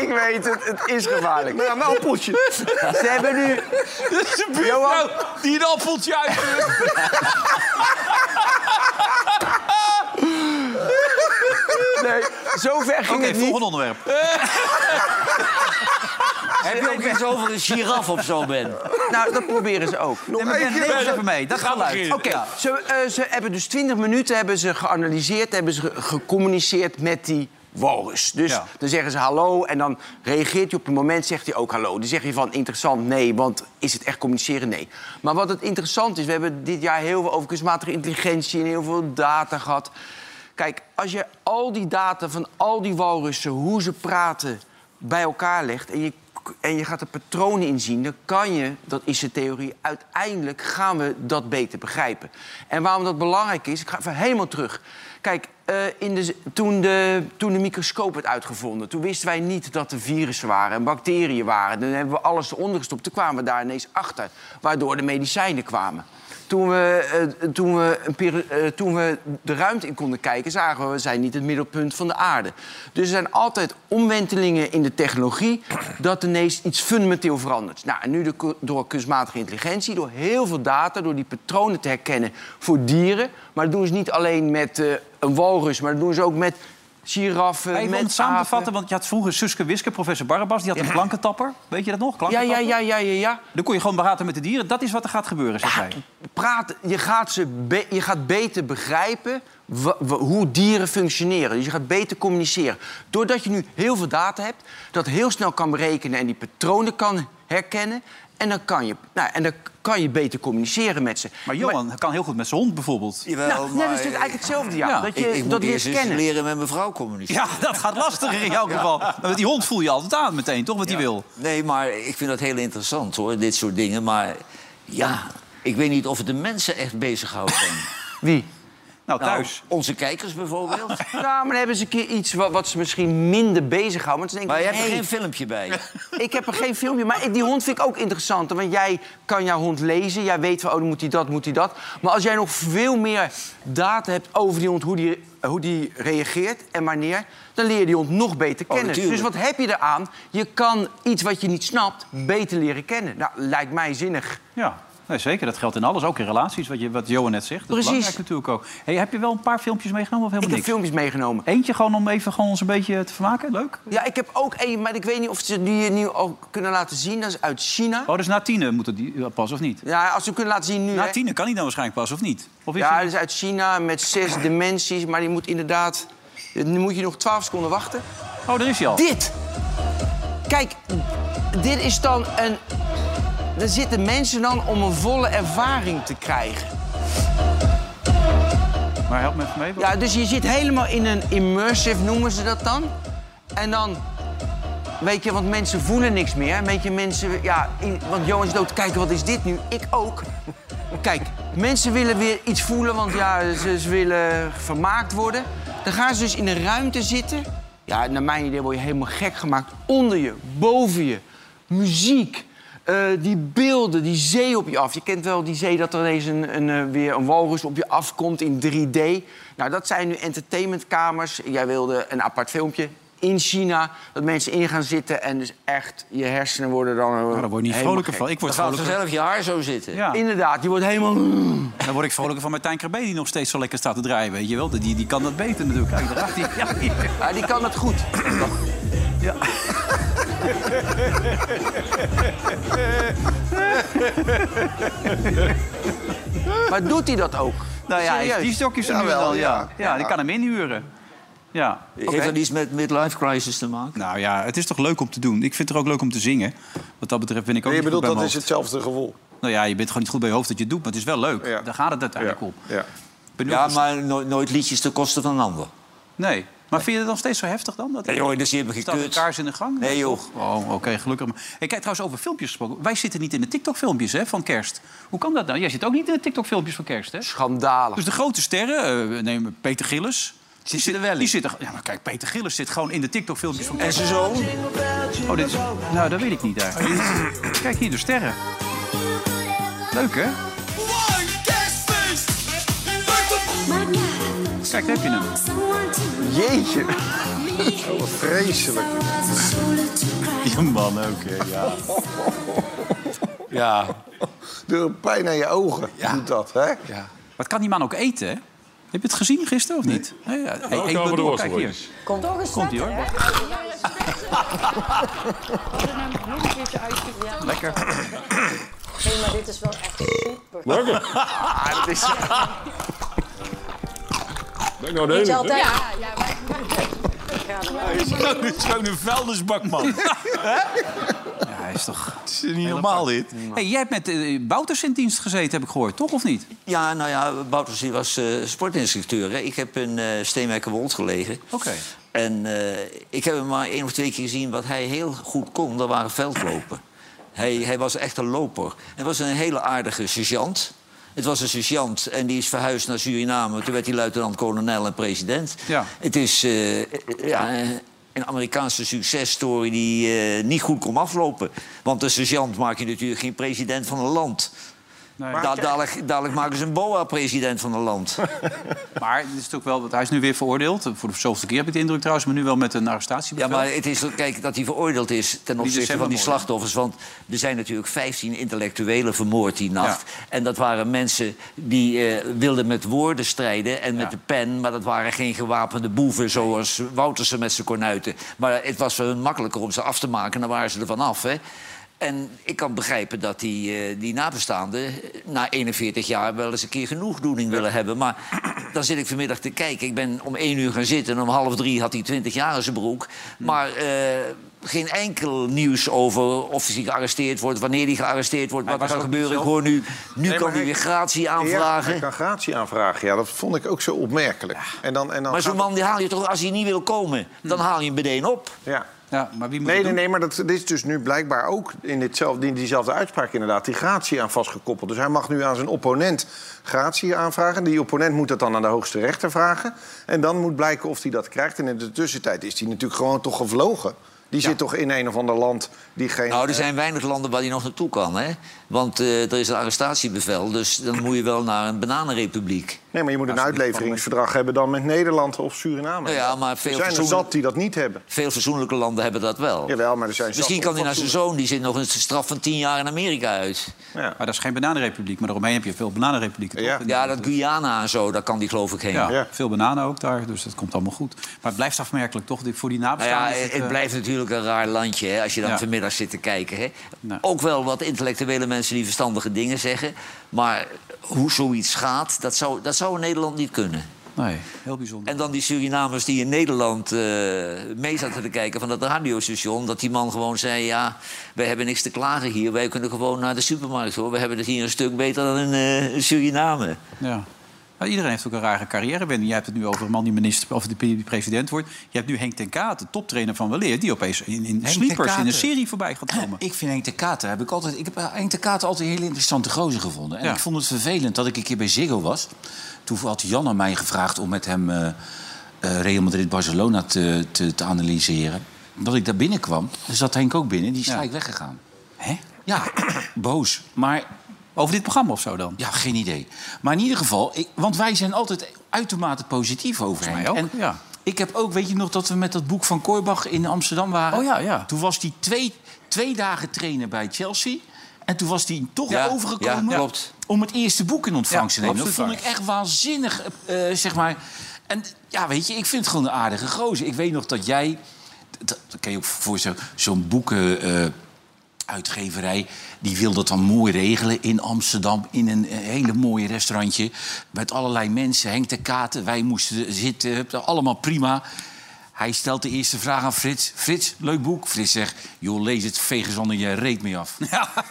Ik weet het, het is gevaarlijk. Ja, een appeltje. Ze hebben nu... Johan, Nou, die een appeltje uit. nee, zo ver ging Oké, het niet. Oh, volgende onderwerp. Heb je ook iets over een giraf of zo, Ben? Nou, dat proberen ze ook. Nee, maar ben, neem ons even mee. Dat gaat luid. Oké, Ja. ze, eh, ze hebben dus 20 minuten hebben ze geanalyseerd, hebben ze ge- gecommuniceerd met die walrus. Dus Ja. dan zeggen ze hallo en dan reageert hij op een moment, zegt hij ook hallo. Dan zeg je van interessant, nee, want is het echt communiceren? Nee. Maar wat het interessant is, we hebben dit jaar heel veel over kunstmatige intelligentie en heel veel data gehad. Kijk, als je al die data van al die walrussen, hoe ze praten, bij elkaar legt en je, en je gaat er patronen in zien, dan kan je, dat is de theorie, uiteindelijk gaan we dat beter begrijpen. En waarom dat belangrijk is, ik ga even helemaal terug. Kijk, eh, in de, z- toen, de, toen de microscoop werd uitgevonden, toen wisten wij niet dat er virussen waren en bacteriën waren. Dan hebben we alles eronder gestopt. Toen kwamen we daar ineens achter, waardoor de medicijnen kwamen. Toen we, eh, toen, we een peri- eh, toen we de ruimte in konden kijken, zagen we, we zijn niet het middelpunt van de aarde. Dus er zijn altijd omwentelingen in de technologie dat ineens iets fundamenteel verandert. Nou, en nu de ku- door kunstmatige intelligentie, door heel veel data, door die patronen te herkennen voor dieren. Maar dat doen ze niet alleen met eh, een walrus, maar dat doen ze ook met giraffen, Even met om het samen te apen. vatten, want je had vroeger Suske Wiske, professor Barabas... die had een klankentapper. Weet je dat nog? Ja, Klankentapper? ja, ja, ja, ja, ja. Dan kon je gewoon praten met de dieren. Dat is wat er gaat gebeuren, zeg jij. praat, je, gaat ze be- je gaat beter begrijpen wa- wa- hoe dieren functioneren. Dus je gaat beter communiceren. Doordat je nu heel veel data hebt, dat heel snel kan berekenen en die patronen kan herkennen. En dan kan je, nou, en dan kan je beter communiceren met ze. Maar Johan kan heel goed met zijn hond bijvoorbeeld. Jawel, Nou, net is het eigenlijk hetzelfde, ja. Ja. Dat eh, ik, je ik moet dat eerst leert eens kennen. leren met mijn vrouw communiceren. Ja, dat gaat lastiger in jouw geval. Maar Met die hond voel je altijd aan meteen, toch? Wat hij wil. Nee, maar ik vind dat heel interessant, hoor, dit soort dingen. Maar ja, ik weet niet of het de mensen echt bezighoudt. Ben. Wie? Nou, Nou, thuis. onze kijkers bijvoorbeeld. Nou, maar dan hebben ze een keer iets wat, wat ze misschien minder bezighouden. Want ze denken, Maar je hebt er hey, geen filmpje bij. Ik heb er geen filmpje, maar ik- die hond vind ik ook interessant. Want jij kan jouw hond lezen, jij weet van, oh, dan moet hij dat, moet hij dat. Maar als jij nog veel meer data hebt over die hond, hoe die, hoe die reageert en wanneer... dan leer je die hond nog beter Oh, kennen. natuurlijk. dus wat heb je eraan? Je kan iets wat je niet snapt beter leren kennen. Nou, lijkt mij zinnig. Ja. Nee, zeker, dat geldt in alles, ook in relaties, wat, je, wat Johan net zegt. Dat Precies. is belangrijk natuurlijk ook. Hey, heb je wel een paar filmpjes meegenomen of Ik helemaal heb niks? filmpjes meegenomen. Eentje gewoon om even gewoon ons een beetje te vermaken, leuk? Ja, ik heb ook één, maar ik weet niet of ze die eh, nu al kunnen laten zien. Dat is uit China. Oh, dus na tienen moet het die, pas of niet? Ja, als ze hem kunnen laten zien nu. Na hè. tienen kan hij dan waarschijnlijk pas of niet? Of is Ja, hij- dat is uit China met zes dimensies, maar die moet inderdaad... Dan moet je nog 12 seconden wachten. Oh, daar is hij al. Dit! Kijk, dit is dan een... Daar zitten mensen dan om een volle ervaring te krijgen. Maar help me even mee. Ja, dus je zit helemaal in een immersive, noemen ze dat dan. En dan, weet je, want mensen voelen niks meer. Weet je, mensen, ja, in- want Johan zit ook te kijken, wat is dit nu? Ik ook. Kijk, mensen willen weer iets voelen, want ja, ze, ze willen vermaakt worden. Dan gaan ze dus in een ruimte zitten. Ja, naar mijn idee word je helemaal gek gemaakt. Onder je, boven je, muziek. eh, die beelden, die zee op je af. Je kent wel die zee dat er ineens een, een, eh, weer een walrus op je afkomt in 3D. Nou, dat zijn nu entertainmentkamers. Jij wilde een apart filmpje in China. Dat mensen in gaan zitten en dus echt je hersenen worden dan... eh, Maar Nou, daar word je niet helemaal vrolijker gek. van. Ik word Dan gaat vrolijker. vanzelf je haar zo zitten. Ja, Inderdaad, je wordt helemaal... dan word ik vrolijker van Martijn Krabbe, die nog steeds zo lekker staat te draaien, weet je wel. Die, die kan dat beter natuurlijk. Kijk, daar gaat hij. Ja, Ja, die kan het goed. maar doet hij dat ook? Nou ja, hij is- Serieus? die stokjes er nu Jawel, wel, ja. ja. Ja, die kan hem inhuren. Ja. Heeft dat iets met midlife crisis te maken? Nou ja, het is toch leuk om te doen. Ik vind het er ook leuk om te zingen. Wat dat betreft ben ik ook Je niet goed bedoelt, bij dat mijn is hoofd. hetzelfde gevoel. Nou ja, je bent gewoon niet goed bij je hoofd dat je het doet, maar het is wel leuk. Ja. Daar gaat het uiteindelijk om. ja. Ik ben nu Ja, ook- maar no- nooit liedjes ten koste van een ander. Nee. Maar vind je het nog steeds zo heftig dan? Dat Nee, joh, dus je hebt me Staat er gekut. kaars in de gang? Nee, joh. Oh, oké, gelukkig. maar. Hey, kijk, trouwens, over filmpjes gesproken. Wij zitten niet in de TikTok-filmpjes hè, van kerst. Hoe kan dat nou? Jij zit ook niet in de TikTok-filmpjes van kerst, hè? Schandalig. Dus de grote sterren, eh, neem Peter Gillis. Die zit er wel in. Die zit er, ja, maar kijk, Peter Gillis zit gewoon in de TikTok-filmpjes van En kerst. zijn zoon? Oh, dit is, nou, dat weet ik niet daar. Kijk hier, de sterren. Leuk, hè? Kijk, daar heb je hem. Jeetje. Wat vreselijk. Je man ook, ja. ja. Door pijn aan je ogen doet dat, hè? Wat kan die man ook eten, hè? Heb je het gezien gisteren of niet? Nee. ja. Hey, ik over de bedoel, worst kijk hier. Komt toch eens Komt-ie, hoor. Nog een keertje uitje. Ja. Lekker. Nee, maar dit is wel echt super. Denk nou de hele Altijd. tijd. Ja, ja, maar... Zo'n vuilnisbak, man. Ja, hij is toch... is niet normaal, dit. Hey, jij hebt met eh, Bouters in dienst gezeten, heb ik gehoord, toch of niet? Ja, nou ja, Bouters die was eh, sportinstructeur. Hè. Ik heb in eh Steenwijkerwold gelegen. Oké. En eh, ik heb hem maar één of twee keer gezien. Wat hij heel goed kon, dat waren veldlopen. Hij, hij was echt een loper. Hij was een hele aardige sergeant. Het was een sergeant en die is verhuisd naar Suriname. Toen werd hij luitenant-kolonel en president. Ja. Het is eh, eh, ja, eh, een Amerikaanse successtory die eh, niet goed kon aflopen. Want een sergeant maak je natuurlijk geen president van een land. Da- dadelijk, dadelijk maken ze een boa-president van een land. Maar het is natuurlijk wel, want hij is nu weer veroordeeld. Voor de zoveelste keer heb ik de indruk trouwens, maar nu wel met een Ja, arrestatiebevel. maar het is, kijk, dat hij veroordeeld is ten opzichte van die decembermoorden. slachtoffers. Want er zijn natuurlijk 15 intellectuelen vermoord die nacht. En dat waren mensen die eh, wilden met woorden strijden en met de pen. Maar dat waren geen gewapende boeven zoals Woutersen met zijn kornuiten. Maar het was voor hun makkelijker om ze af te maken. Dan waren ze er vanaf, hè. En ik kan begrijpen dat die, eh, die nabestaanden na 41 jaar wel eens een keer genoegdoening willen hebben. Maar dan zit ik vanmiddag te kijken. Ik ben om één uur gaan zitten en om half drie had hij 20 jaar in zijn broek. Maar eh, geen enkel nieuws over of hij gearresteerd wordt, wanneer hij gearresteerd wordt, wat er gaat gebeuren. Ik hoor nu, nu Nee, kan maar hij hij- weer gratie Ja, aanvragen. ik kan gratie aanvragen. Ja, dat vond ik ook zo opmerkelijk. En dan, en dan maar zo'n gaat- man die haal je toch, als hij niet wil komen, Hmm. dan haal je hem meteen op. Ja. Ja, maar wie moet Nee, het nee, doen? nee, maar dat, dit is dus nu blijkbaar ook in, ditzelfde, in diezelfde uitspraak inderdaad... die gratie aan vastgekoppeld. Dus hij mag nu aan zijn opponent gratie aanvragen. Die opponent moet dat dan aan de hoogste rechter vragen. En dan moet blijken of hij dat krijgt. En in de tussentijd is hij natuurlijk gewoon toch gevlogen. Die zit toch in een of ander land die geen... Nou, er zijn weinig landen waar hij nog naartoe kan, hè? Want eh, er is een arrestatiebevel, dus dan moet je wel naar een bananenrepubliek. Nee, maar je moet een uitleveringsverdrag hebben dan met Nederland of Suriname. Nou ja, maar er veel, zijn er verzoen- zat die dat niet hebben. veel verzoenlijke landen hebben dat wel. Jawel, maar er zijn zat Misschien kan hij naar zijn onfatsoenlijke- zoon, die zit nog een straf van tien jaar in Amerika uit. Maar dat is geen bananenrepubliek, maar daaromheen heb je veel bananenrepublieken. toch? Ja. En- Ja, dat Guyana en zo, daar kan die geloof ik heen. Ja, Ja. veel bananen ook daar, dus dat komt allemaal goed. Maar het blijft afmerkelijk, toch? Voor die Nou ja, nabestaanden... is het, eh, blijft natuurlijk een raar landje hè, als je dan Ja. vanmiddag zit te kijken. Hè. Nou. Ook wel wat intellectuele mensen die verstandige dingen zeggen. Maar hoe zoiets gaat, dat zou, dat zou in Nederland niet kunnen. Nee, heel bijzonder. En dan die Surinamers die in Nederland eh mee zaten te kijken van dat radiostation. Dat die man gewoon zei: Ja, wij hebben niks te klagen hier. Wij kunnen gewoon naar de supermarkt hoor. We hebben het hier een stuk beter dan in eh, Suriname. Ja. Nou, iedereen heeft ook een rare carrièrewending. Jij hebt het nu over een man die minister of die president wordt. Je hebt nu Henk ten Kaat, de toptrainer van Weleer... die opeens in, in ten Sleepers in een Kate. serie voorbij gaat komen. Ik vind Henk de Kater, heb ik altijd... Ik heb Henk de Kater altijd een hele interessante gozer gevonden. En Ja. ik vond het vervelend dat ik een keer bij Ziggo was. Toen had Jan aan mij gevraagd om met hem eh, eh, Real Madrid-Barcelona te, te, te analyseren. Dat ik daar binnenkwam, er zat Henk ook binnen. Die is Ja. gelijk weggegaan. Hè? Ja, boos. Maar Over dit programma of zo dan? Ja, geen idee. Maar in ieder geval, ik, want wij zijn altijd uitermate positief over mij hem. ook, ja. Ik heb ook, weet je nog, dat we met dat boek van Kooibach in Amsterdam waren. Oh ja, ja. Toen was hij twee, twee dagen trainen bij Chelsea. En toen was hij toch Ja, overgekomen ja, klopt. om het eerste boek in ontvangst Ja, te nemen. Dat absoluut vond ik echt waanzinnig, eh, eh, zeg maar. En ja, weet je, ik vind het gewoon een aardige gozer. Ik weet nog dat jij, dat, dat kan je ook voorstellen, zo'n boeken... eh, uitgeverij die wil dat dan mooi regelen in Amsterdam... in een eh, hele mooie restaurantje met allerlei mensen. Henk de Katen, wij moesten zitten, hup, allemaal prima. Hij stelt de eerste vraag aan Frits. Frits, leuk boek. Frits zegt, joh, lees het, veeg er zonder je reet mee af.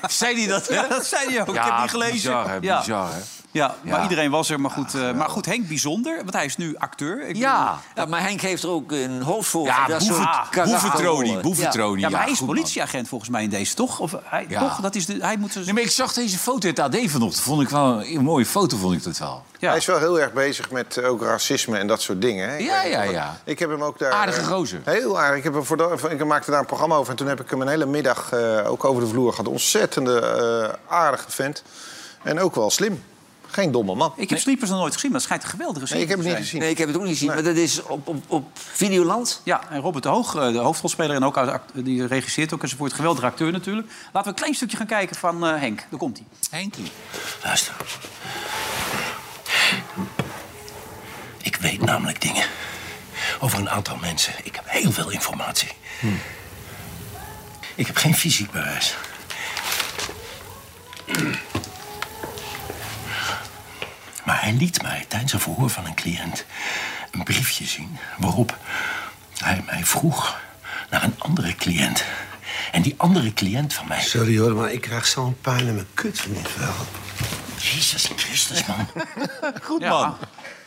Zei hij dat, hè? Ja, dat zei hij ook. ik heb die gelezen. Bizar, hè, ja. bizar, hè? Ja, maar Ja. iedereen was er. Maar goed, eh, maar goed, Henk bijzonder, want hij is nu acteur. Ik Ja. Ja, maar Henk heeft er ook een hoofd voor. Ja, voor dat soort boeven- karakterrollen. boeventronie, bedoel- boeventronie. ja, maar hij is goed, man. politieagent volgens mij in deze, toch? Of eh, hij, Ja. toch? Dat is de, hij moet... dus- Nee, maar ik zag deze foto in het AD vanochtend. Vond ik wel een mooie foto, vond ik dat wel. ja. Hij is wel heel erg bezig met eh, ook racisme en dat soort dingen. Hè? Ik Ja, weet ja, nog wel. ja. Ik heb hem ook daar... Aardige eh, gozer. Heel aardig. Ik, heb hem voor da- voor- ik maakte daar een programma over. En toen heb ik hem een hele middag eh, ook over de vloer gehad. Ontzettende eh, aardige vent. En ook wel slim. Geen domme man. Ik heb Sleepers nog nooit gezien, maar het schijnt een geweldige Nee, serie ik heb te het zijn. niet gezien. Nee, ik heb het ook niet gezien. Maar dat is op, op, op Videoland. Ja, en Robert de Hoog, eh, de hoofdrolspeler en ook uit- act- die regisseert ook enzovoort. Geweldige acteur natuurlijk. Laten we een klein stukje gaan kijken van eh, Henk. Daar komt hij. Henkie. Luister. Ik weet namelijk dingen over een aantal mensen. Ik heb heel veel informatie. Ik heb geen fysiek bewijs. Maar hij liet mij tijdens een verhoor van een cliënt een briefje zien waarop hij mij vroeg naar een andere cliënt. En die andere cliënt van mij. Sorry hoor, maar ik krijg zo'n pijn in mijn kut van dit verhaal. Jezus Christus, man. Goed man.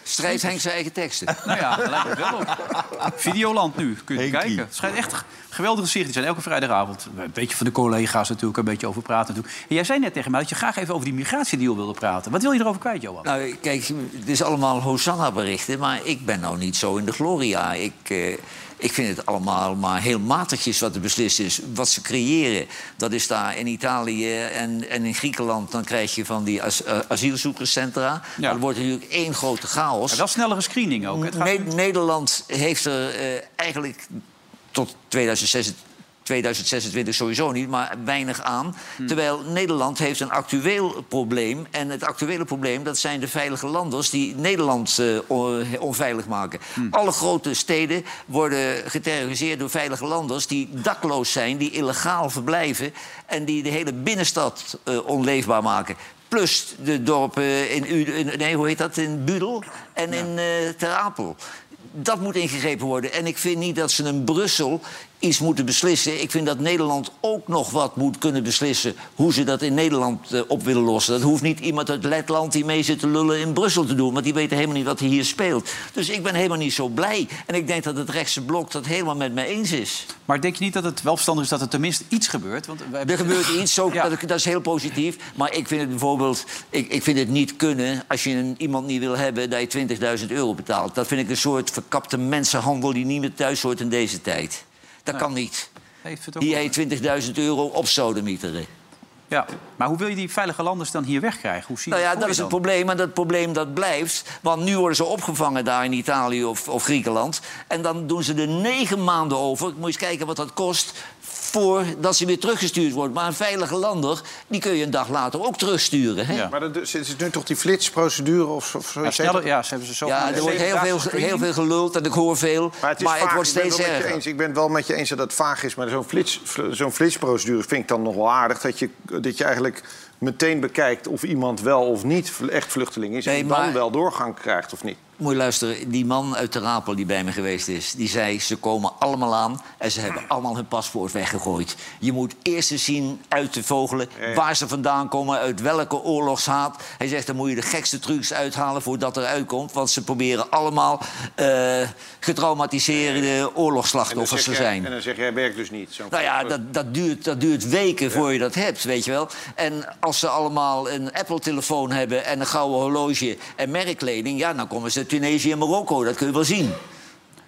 Schrijft Henk zijn eigen teksten. nou ja, daar lijkt het wel op. Videoland nu, kun je kijken. Het schijnt echt een geweldige serie te zijn, elke vrijdagavond. Een beetje van de collega's natuurlijk, een beetje over praten natuurlijk. En jij zei net tegen mij dat je graag even over die migratiedeal wilde praten. Wat wil je erover kwijt, Johan? Nou, kijk, het is allemaal Hosanna-berichten, maar ik ben nou niet zo in de gloria. Ik, eh, ik vind het allemaal maar heel matigjes wat er beslist is. Wat ze creëren, dat is daar in Italië en, en in Griekenland... dan krijg je van die as- eh, asielzoekerscentra. Ja. Dat wordt natuurlijk één grote chaos. Maar wel snellere screening ook. hè? Het gaat Ne- Nederland heeft er eh, eigenlijk tot 2026, 2026 sowieso niet, maar weinig aan. Hmm. Terwijl Nederland heeft een actueel probleem. En het actuele probleem, dat zijn de veilige landers... die Nederland eh, on- onveilig maken. Hmm. Alle grote steden worden geterroriseerd door veilige landers... die dakloos zijn, die illegaal verblijven... en die de hele binnenstad eh, onleefbaar maken. Plus de dorpen in, Ude- in- nee, hoe heet dat? in Budel en in eh Ter Apel. Dat moet ingegrepen worden. En ik vind niet dat ze in Brussel iets moeten beslissen. Ik vind dat Nederland ook nog wat moet kunnen beslissen... hoe ze dat in Nederland eh, op willen lossen. Dat hoeft niet iemand uit Letland die mee zit te lullen in Brussel te doen... want die weten helemaal niet wat er hier speelt. Dus ik ben helemaal niet zo blij. En ik denk dat het rechtse blok dat helemaal met mij eens is. Maar denk je niet dat het wel verstandig is dat er tenminste iets gebeurt? Want we Er gebeurt iets, ook, Ja. dat, dat is heel positief. Maar ik vind het bijvoorbeeld, ik, ik vind het niet kunnen... als je een, iemand niet wil hebben, dat je 20.000 euro betaalt. Dat vind ik een soort verkapte mensenhandel... die niet meer thuis hoort in deze tijd. Dat kan niet. heeft het ook die over. hij 20.000 euro op sodemieteren. Ja, maar hoe wil je die veilige landers dan hier wegkrijgen? Hoe zie je Nou ja, voor dat je is het dan? probleem. En dat probleem dat blijft. Want nu worden ze opgevangen daar in Italië of, of Griekenland. En dan doen ze er negen maanden over. Moet je eens kijken wat dat kost voordat ze weer teruggestuurd wordt. Maar een veilige lander, die kun je een dag later ook terugsturen. Hè? Ja. Maar dat, is het nu toch die flitsprocedure of, of zo? Ja, sneller, ja, ze hebben ze zo van- er wordt heel veel, heel veel geluld en ik hoor veel. Maar het, is vaag. wordt Ik ben steeds wel met je erger. eens. Ik ben het wel met je eens dat het vaag is, maar zo'n flits, fl- zo'n flitsprocedure vind ik dan nog wel aardig. Dat je, dat je eigenlijk meteen bekijkt of iemand wel of niet vl- echt vluchteling is. Nee, en dan maar- wel doorgang krijgt of niet. Moet je luisteren, die man uit de Rapel die bij me geweest is... die zei, ze komen allemaal aan en ze hebben allemaal hun paspoort weggegooid. Je moet eerst eens zien uit te vogelen waar ze vandaan komen... uit welke oorlogshaat. Hij zegt, dan moet je de gekste trucs uithalen voordat eruit komt... want ze proberen allemaal eh, getraumatiseerde En dan, oorlogsslachtoffers zeg te jij, zijn. en dan zeg jij, werkt dus niet. Zo'n Nou ja, dat, dat, duurt, dat duurt weken voor je dat hebt, weet je wel. En als ze allemaal een Apple-telefoon hebben en een gouden horloge en merkkleding... ja, dan komen ze uit Tunesië en Marokko, dat kun je wel zien.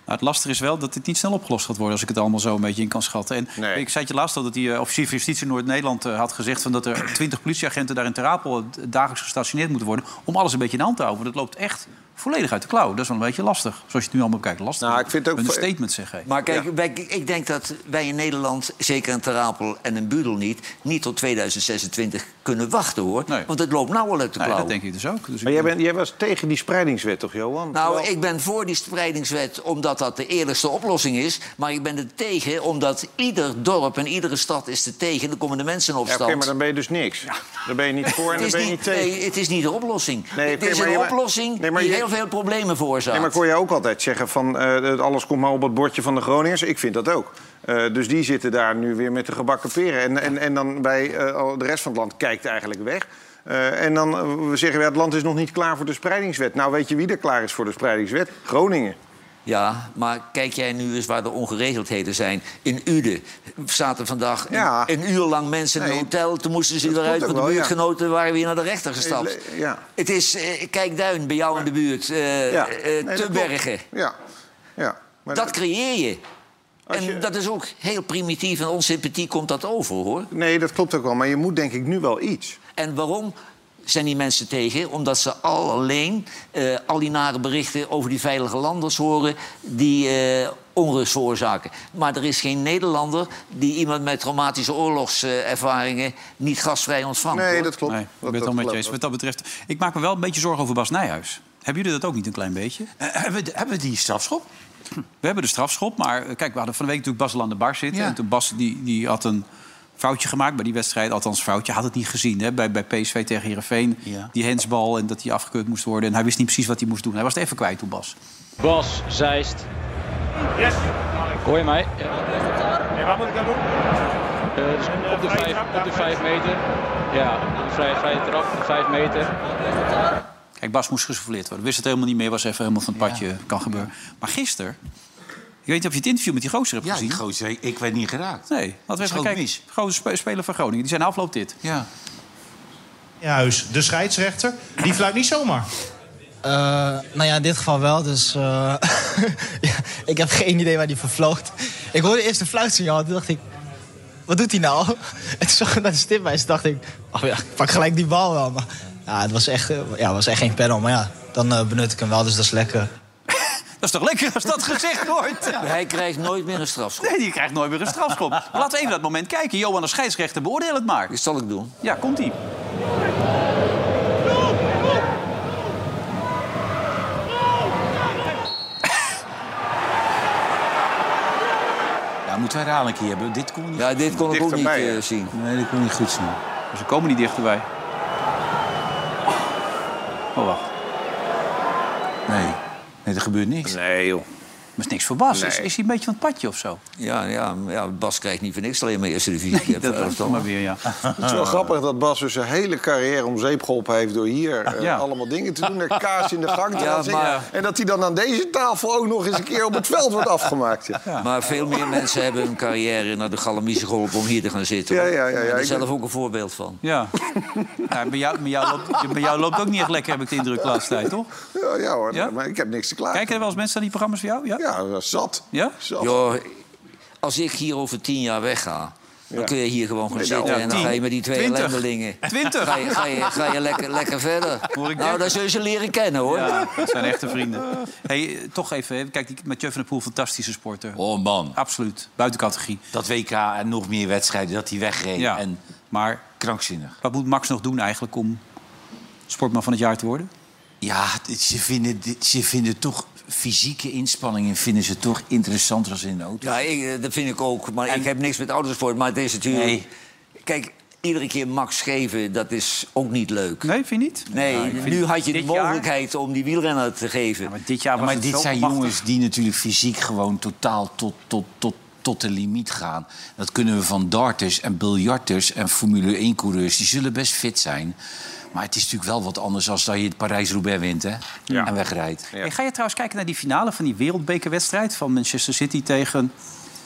Nou, het lastige is wel dat dit niet snel opgelost gaat worden... als ik het allemaal zo een beetje in kan schatten. En Ik zei het je laatst al dat die eh, officier van justitie in Noord-Nederland eh, had gezegd... Van dat er 20 politieagenten daar in Terapel eh, dagelijks gestationeerd moeten worden... om alles een beetje in de hand te houden. Want het loopt echt volledig uit de klauw. Dat is wel een beetje lastig. Zoals je het nu allemaal bekijkt. Lastig. Nou, ik vind ook... Een statement zeggen. Maar kijk, wij- ik denk dat wij in Nederland, zeker in Terapel en in Budel niet... niet tot 2026 kunnen wachten, hoor. Want het loopt nauwelijks te Nee, klauwen. dat denk ik dus ook. Dus Maar jij, bent, jij was tegen die spreidingswet, toch, Johan? Nou, ik ben voor die spreidingswet omdat dat de eerlijkste oplossing is. Maar ik ben er tegen omdat ieder dorp en iedere stad is er tegen. Dan komen de mensen in Ja, opstand. Oké, maar dan ben je dus niks. Dan ben je niet voor Het en dan is ben je niet niet- tegen. nee, het is niet de oplossing. Nee, het oké, is maar een je- oplossing nee, maar die je- heel veel problemen veroorzaakt. Nee, maar ik hoor je ook altijd zeggen van eh, alles komt maar op het bordje van de Groningers. Ik vind dat ook. Eh, dus die zitten daar nu weer met de gebakken peren. En, en, en dan bij eh, al de rest van het land kijkt eigenlijk weg. Eh, en dan eh, we zeggen we, het land is nog niet klaar voor de spreidingswet. Nou, weet je wie er klaar is voor de spreidingswet? Groningen. Ja, maar kijk jij nu eens waar de ongeregeldheden zijn. In Uden zaten vandaag een, een uur lang mensen in een hotel. Toen moesten ze eruit klopt van ook de wel, ja. buurtgenoten. waren weer naar de rechter gestapt. Eh, le- ja. Het is, eh, kijk Duin, bij jou in de buurt. eh, Ja. eh, Nee, dat te klopt. bergen. Ja. ja. Maar dat creëer je. En dat is ook heel primitief en onsympathiek komt dat over, hoor. Nee, dat klopt ook wel. Maar je moet denk ik nu wel iets. En waarom zijn die mensen tegen? Omdat ze al alleen eh, al die nare berichten over die veilige landers horen... die eh, onrust veroorzaken. Maar er is geen Nederlander die iemand met traumatische oorlogservaringen... niet gastvrij ontvangt. hoor. Nee, ik ben het al met je eens. Wat dat betreft, ik maak me wel een beetje zorgen over Bas Nijhuis. Hebben jullie dat ook niet een klein beetje? Eh, hebben, we, die strafschop? We hebben de strafschop, maar eh, kijk, we hadden van de week natuurlijk Bas Lan de Bar zitten. En toen Bas die, die had een foutje gemaakt bij die wedstrijd. Althans, foutje had het niet gezien hè? Bij, bij PSV tegen Heerenveen. Die hensbal en dat die afgekeurd moest worden. En hij wist niet precies wat hij moest doen. Hij was het even kwijt toen, Bas. Bas Zeist. Yes. Hoor je mij? Ja, waar moet ik aan doen? dus op, de vijf, op de vijf meter. Ja, een vrije, vrije trap, de vijf meter. Kijk, Bas moest gesouffleerd worden. Wist het helemaal niet meer, was even helemaal van het padje. Kan gebeuren. Maar gisteren, ik weet niet of je het interview met die gozer hebt gezien. die gozer, ik, ik werd niet geraakt. Nee, laten we even Schoot kijken. mis. Grote spe- speler van Groningen. Die zijn afloop dit. Ja. Huis, de scheidsrechter, die fluit niet zomaar. nou ja, in dit geval wel, dus eh, ja, ik heb geen idee waar die voor vloog. Ik hoorde eerst een fluitsignaal, toen dacht ik, wat doet hij nou? En toen zag ik naar de stip bij, toen dacht ik, oh ja, ik pak gelijk die bal wel. Maar ja, het was echt, eh, ja, het was echt geen panel, maar ja, dan eh, benut ik hem wel, dus dat is lekker. Dat is toch lekker als dat gezegd wordt? Hij krijgt nooit meer een strafschop. Nee, die krijgt nooit meer een strafschop. Maar laten we even dat moment kijken. Johan als scheidsrechter, beoordeel het maar. Dat zal ik doen. Ja, komt-ie. Ja, moeten we herhalen een keer hebben. Dit kon niet Ja, dit kon ik ook niet Dichterbij, eh, hè? zien. Nee, dit kon niet goed zien. Ze komen niet dichterbij. Oh, wacht. Nee. Nee, er gebeurt niks. Nee, joh. Dat is niks voor Bas. Nee. Is, is hij een beetje van het padje of zo? Ja, ja, ja, Bas krijgt niet voor niks alleen maar eerste divisie. dat was maar weer, ja. Het is wel grappig dat Bas dus zijn hele carrière om zeep geholpen heeft... door hier eh, Ah, Ja. allemaal dingen te doen, er kaas in de gang te Ja, gaan zingen. maar- En dat hij dan aan deze tafel ook nog eens een keer op het veld wordt afgemaakt. ja. Maar veel meer mensen hebben hun carrière naar de galamiezen geholpen om hier te gaan zitten. Ja, hoor. ja, ja, Ik ja, ben er ik zelf ben- ook een voorbeeld van. Ja. Nou, bij, jou, bij, jou loopt, bij jou loopt ook niet echt lekker, heb ik de indruk, de laatste tijd, toch? Ja, ja hoor, maar ik heb niks te klagen. Kijken er wel eens mensen aan die programma's voor jou? Ja, ja zat. Ja? Zat. Joh, als ik hier over tien jaar wegga... Dan kun je hier gewoon gaan Ja, nou, zitten en dan tien, ga je met die twee twintig. ellendelingen... Twintig. Ga je, ga je, ga je lekker, lekker verder. Nou, dan zul je ze leren kennen, hoor. Ja, dat zijn echte vrienden. Hey, eh, toch even, hè. kijk, die Mathieu van der Poel, fantastische sporter. Oh man. Absoluut, buiten categorie. Dat WK en nog meer wedstrijden, dat hij wegreed. Ja. En maar krankzinnig. Wat moet Max nog doen eigenlijk om sportman van het jaar te worden? Ja, dit- ze vinden, dit- ze vinden toch fysieke inspanningen vinden ze toch interessanter als in de auto. Ja, ik, eh, dat vind ik ook. Maar ik heb niks met autosport. Maar het is natuurlijk... Kijk, iedere keer Max geven, dat is ook niet leuk. Nee, vind je niet? Nee, Ja, Nou, ik vind- nu had je de dit jaar- mogelijkheid om die wielrenner te geven. maar dit jaar maar dit zijn jongens die natuurlijk fysiek gewoon totaal tot, tot, tot, tot de limiet gaan. Dat kunnen we van darters en biljarters en Formule 1-coureurs. Die zullen best fit zijn. Maar het is natuurlijk wel wat anders als dat je het Parijs-Roubaix wint hè? en wegrijdt. Hey, ga je trouwens kijken naar die finale van die wereldbekerwedstrijd... van Manchester City tegen,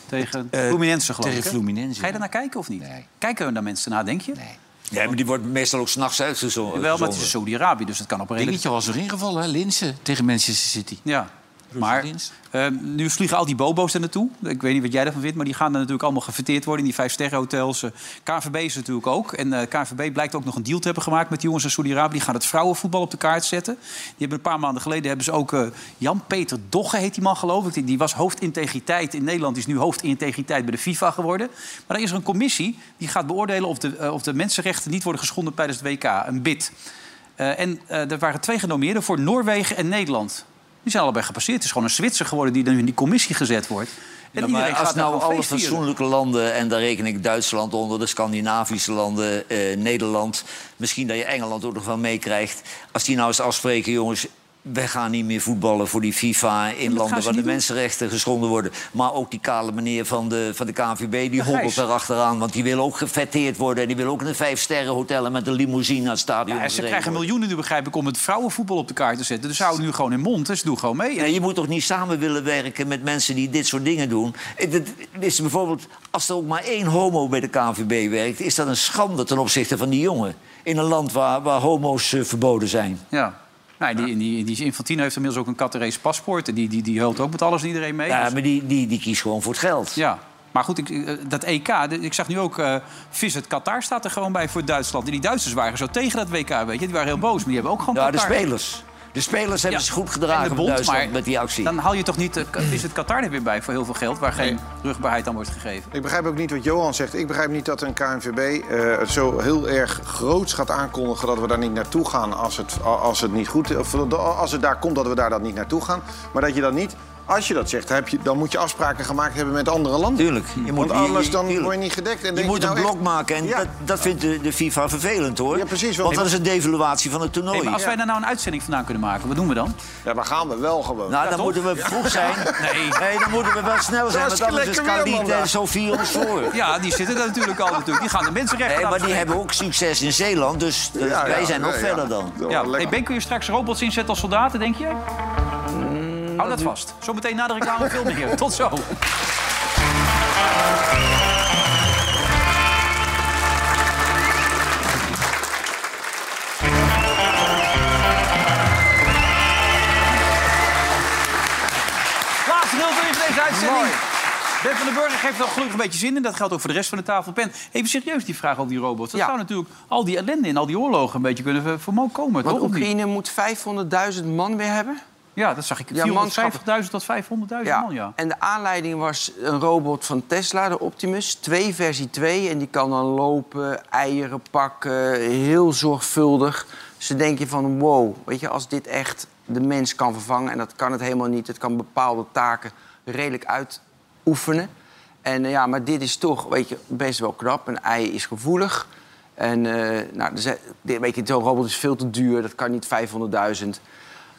tegen Fluminense, geloof Eh, tegen ik, hè? Fluminense, Ga je daar naar kijken of niet? Kijken we daar mensen naar, denk je? Nee. Ja, maar die wordt meestal ook s'nachts uitgezonden. Wel, maar het is Saudi-Arabië, dus dat kan op een Dingetje was erin gevallen, hè? Linsen tegen Manchester City. Ja. Maar eh, nu vliegen al die bobo's er naartoe. Ik weet niet wat jij daarvan vindt, maar die gaan er natuurlijk allemaal gefeteerd worden in die vijfsterrenhotels. Eh, KNVB is natuurlijk ook. En eh KNVB blijkt ook nog een deal te hebben gemaakt met die jongens uit Saudi-Arabië. Die gaan het vrouwenvoetbal op de kaart zetten. Die hebben een paar maanden geleden hebben ze ook eh, Jan-Peter Dogge, heet die man geloof ik. Die- Die was hoofdintegriteit in Nederland. Die is nu hoofdintegriteit bij de FIFA geworden. Maar dan is er een commissie die gaat beoordelen of de, eh, of de mensenrechten niet worden geschonden tijdens het WK. Een bid. Eh, en eh, er waren twee genomineerden voor Noorwegen en Nederland. Die zijn allebei gepasseerd. Het is gewoon een Zwitser geworden die dan in die commissie gezet wordt. En Ja, maar iedereen als gaat nou nou gewoon alle feest vieren. fatsoenlijke landen, en daar reken ik Duitsland onder, de Scandinavische landen, eh, Nederland, misschien dat je Engeland ook nog wel meekrijgt. Als die nou eens afspreken, jongens, wij gaan niet meer voetballen voor die FIFA in landen ze waar de niet doen. mensenrechten geschonden worden. Maar ook die kale meneer van de, van de KVB, die Ja, hobbelt Gijs. erachteraan, want die wil ook gefetteerd worden. En die wil ook in een vijfsterrenhotel en met een limousine naar het stadion. Ja, en ze gereden krijgen worden. miljoenen nu, begrijp ik, om het vrouwenvoetbal op de kaart te zetten. Dus ze houden nu gewoon in mond. Dus doe gewoon mee. Nee, je moet toch niet samen willen werken met mensen die dit soort dingen doen. Het, het- het is bijvoorbeeld, als er ook maar één homo bij de KNVB werkt, is dat een schande ten opzichte van die jongen. In een land waar, waar homo's eh, verboden zijn. Ja. Nou, die, die, die Infantino heeft inmiddels ook een Catarese paspoort. En die, die, die hult ook met alles en iedereen mee. Dus- Ja, maar die, die, die kiest gewoon voor het geld. Ja. Maar goed, ik, eh, dat EK, de- ik zag nu ook eh Visit Qatar staat er gewoon bij voor Duitsland. En die Duitsers waren zo tegen dat WK, weet je. Die waren heel boos, maar die hebben ook gewoon Ja, dus de Qatar. spelers. De spelers hebben Ja. zich goed En de Dus gedragen bond, in Duitsland maar met die actie. Hmm. Dan haal je toch niet, eh, is het Qatar er weer bij voor heel veel geld... waar geen rugbaarheid aan wordt gegeven. Ik begrijp ook niet wat Johan zegt. Ik begrijp niet dat een KNVB eh, het zo heel erg groots gaat aankondigen dat we daar niet naartoe gaan als het, a- als het niet goed of als het daar komt dat we daar dan niet naartoe gaan. Maar dat je dat niet, als je dat zegt, heb je, dan moet je afspraken gemaakt hebben met andere landen. Tuurlijk. Je moet- Want je- je- anders dan tuurlijk. word je niet gedekt. En Je denk moet nou een blok echt- maken en Ja. dat, dat vindt de, de FIFA vervelend hoor. Ja, precies, want- Want dat is een devaluatie van het toernooi. Hey, maar als wij daar nou een uitzending vandaan kunnen maken, wat doen we dan? Ja, maar gaan we wel gewoon. Nou, dan moeten we vroeg zijn. Nee. Nee, dan moeten we wel snel zijn. Want Hartstikke anders is lekker weer, Khalid man. en Sofie ons voor. Ja, die zitten daar natuurlijk al natuurlijk. Die gaan de mensenrechten Nee, maar die afspreken. hebben ook succes in Zeeland, dus eh, Ja, wij ja, zijn nee, nog ja. verder dan. Ja, hey, Ben, kun je straks robots inzetten als soldaten, denk je? Hmm, Hou dat vast. Zometeen na de reclame veel meer. Tot zo. Laatste deel van deze uitzending. Ben van den Burger geeft wel gelukkig een beetje zin in. Dat geldt ook voor de rest van de tafel. Ben, even serieus die vraag over die robots. Dat zou natuurlijk al die ellende in al die oorlogen een beetje kunnen voorkomen, Want toch? Of niet? Oekraïne moet 500.000 man weer hebben. Ja, dat zag ik. Ja, 450.000 tot 500.000 Ja. man, ja. En de aanleiding was een robot van Tesla, de Optimus. 2 versie 2. En die kan dan lopen, eieren pakken, heel zorgvuldig. Dus dan denk je van, wow, weet je, als dit echt de mens kan vervangen... en dat kan het helemaal niet, het kan bepaalde taken redelijk uitoefenen. En eh, ja, maar dit is toch, weet je, best wel knap. Een ei is gevoelig. En eh, nou, er zijn- dit- weet je, zo'n robot is veel te duur, dat kan niet 500.000.